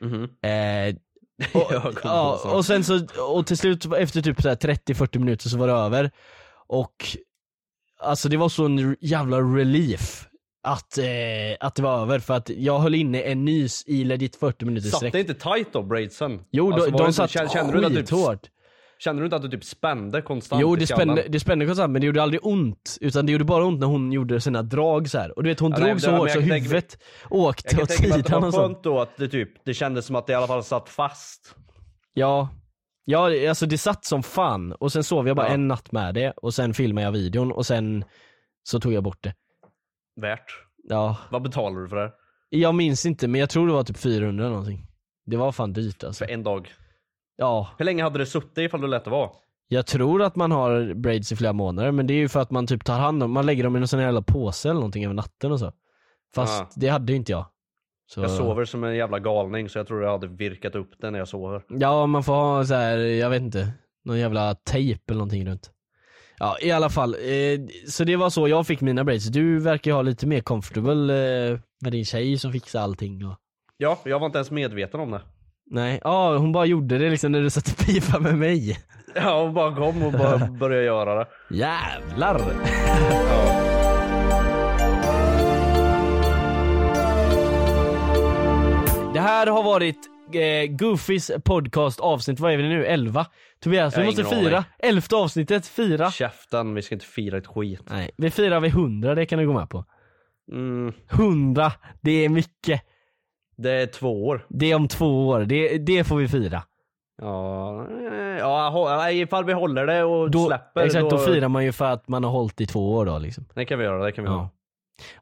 B: Mhm.
A: Eh,
B: (laughs)
A: och, ja, och sen så, och till slut efter typ så här 30-40 minuter så var det över. Och alltså det var sån jävla relief att, eh, att det var över för att jag höll inne en nys i legit 40 minuter
B: Satt
A: sträck.
B: det inte tight då braidsen?
A: Jo,
B: Alltså,
A: de,
B: var det
A: de
B: inte-
A: satt
B: kände- kände du inte att du-
A: skithårt.
B: Kände du inte att du typ spände konstant
A: Jo
B: i
A: det
B: skallen?
A: spände, det spände konstant men det gjorde aldrig ont. Utan det gjorde bara ont när hon gjorde sina drag så här. Och du vet hon
B: Ja, nej,
A: drog
B: men
A: så
B: det- men
A: hårt
B: jag
A: så
B: kan tänka mig-
A: huvudet
B: Jag
A: åkte
B: kan
A: åt
B: tänka mig att det
A: sidan
B: var
A: och sånt.
B: skönt då att det typ, det kändes som att det i alla fall satt fast.
A: Ja. Ja, det- alltså det satt som fan och sen sov jag bara
B: Ja.
A: en natt med det och sen filmade jag videon och sen så tog jag bort det.
B: Värt.
A: Ja,
B: Vad betalar du för det här?
A: jag minns inte men jag tror det var typ 400 eller någonting. Det var fan dyrt alltså.
B: För en dag?
A: Ja,
B: Hur länge hade det suttit ifall du lät det vara?
A: jag tror att man har braids i flera månader men det är ju för att man typ tar hand om, man lägger dem i någon sån här jävla påse eller någonting över natten och så. Fast
B: Ja.
A: det hade ju inte jag. Så...
B: Jag sover som en jävla galning så jag tror jag hade virkat upp den när jag sover.
A: Ja, man får ha så här, jag vet inte, någon jävla tejp eller någonting runt. Ja, i alla fall. Eh, så det var så jag fick mina braids. Du verkar ju ha lite mer comfortable eh, med din tjej som fixar allting och...
B: Ja, jag var inte ens medveten om det.
A: Nej, ja hon bara gjorde det liksom när du satt och pipa med mig.
B: Ja, hon bara kom och (laughs) bara började göra det.
A: Jävlar! (laughs) Det här har varit eh, Goofys podcast avsnitt, vad är vi nu? 11? Tobias,
B: Jag
A: vi
B: har
A: måste
B: ingen
A: fira!
B: aning.
A: Elfte avsnittet, fira!
B: Käften, vi ska inte fira ett skit.
A: Nej, vi firar vid 100, det kan du gå med på.
B: Mm,
A: 100, det är mycket.
B: det är två år.
A: Det är om två år, det, det får vi fira.
B: Ja, eh, ja hå- nej, ifall vi håller det och
A: Då,
B: släpper.
A: exakt, då firar man ju för att man har hållit i två år då liksom.
B: Det kan vi göra, det kan vi göra.
A: Ja.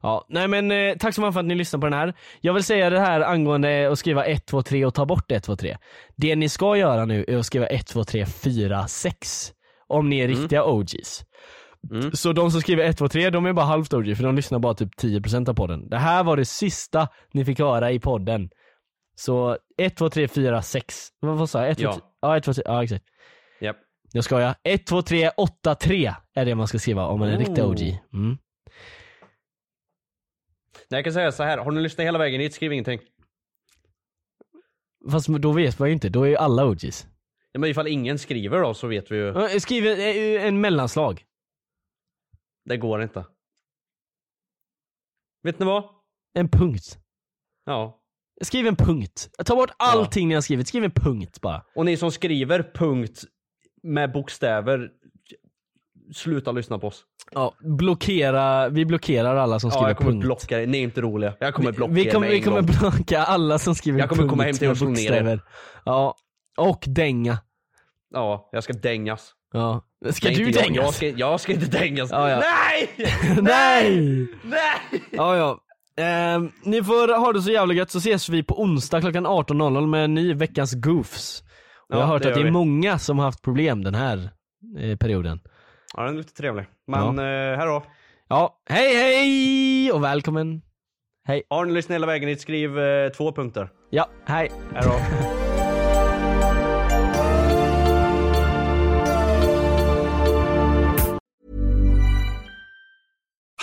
A: Ja, nej men eh, tack så mycket för att ni lyssnar på den här. Jag vill säga det här angående att skriva 1, 2, 3 och ta bort 1, 2, 3. Det ni ska göra nu är att skriva 1, 2, 3, 4, 6. Om ni är
B: Mm.
A: riktiga OGs. Så de som skriver 1, 2, 3, de är bara halvt OG för de lyssnar bara typ 10% av podden. Det här var det sista ni fick höra i podden. Så 1, 2, 3, 4, 6. Vad vad sa jag? 1, 2,
B: Ja.
A: 3, ja 1, 2, 3, ja exakt.
B: Japp.
A: Jag skojar. 1, 2, 3, 8, 3 är det man ska skriva om man är en riktig
B: Oh.
A: OG. Mm.
B: Nej, jag kan säga så här. har ni lyssnat hela vägen hit, skriv ingenting.
A: Fast då vet man ju inte, då är ju alla OGs.
B: Ja, men ifall ingen skriver då så vet vi ju.
A: Ja, Skriv en, eh, en mellanslag.
B: Det går inte. Vet ni vad?
A: En punkt.
B: Ja.
A: Skriv en punkt. Ta bort allting ni har skrivit, skriv en punkt bara.
B: Och ni som skriver punkt med bokstäver, sluta lyssna på oss.
A: Ja, blockera, vi blockerar alla som
B: Ja,
A: skriver
B: jag kommer
A: punkt.
B: blocka er, ni är inte roliga. Jag kommer blocka
A: vi
B: er
A: kommer,
B: med
A: vi
B: en
A: kommer
B: gång.
A: blocka alla som skriver
B: Jag kommer komma
A: punkt
B: hem till er och
A: med
B: slå ner er.
A: bokstäver. Ja, och dänga.
B: Ja, jag ska dängas.
A: Ja. Ska
B: Nej,
A: du
B: inte jag.
A: dängas?
B: Jag ska, jag ska inte dängas.
A: Ja, ja.
B: (laughs) Nej!
A: Nej! Nej! Ja, ja. Ehm, ni får ha det så jävla gött så ses vi på onsdag klockan 18.00 med en ny veckans goofs. Och
B: Ja,
A: jag har hört
B: det
A: att det är
B: gör vi.
A: många som har haft problem den här eh, perioden.
B: Ja, den är lite trevlig. Men eh, här då.
A: Ja, hej hej och välkommen. Hej.
B: Har ni lyssnat hela vägen hit, skriv eh, två punkter.
A: Ja, hej.
B: Här då.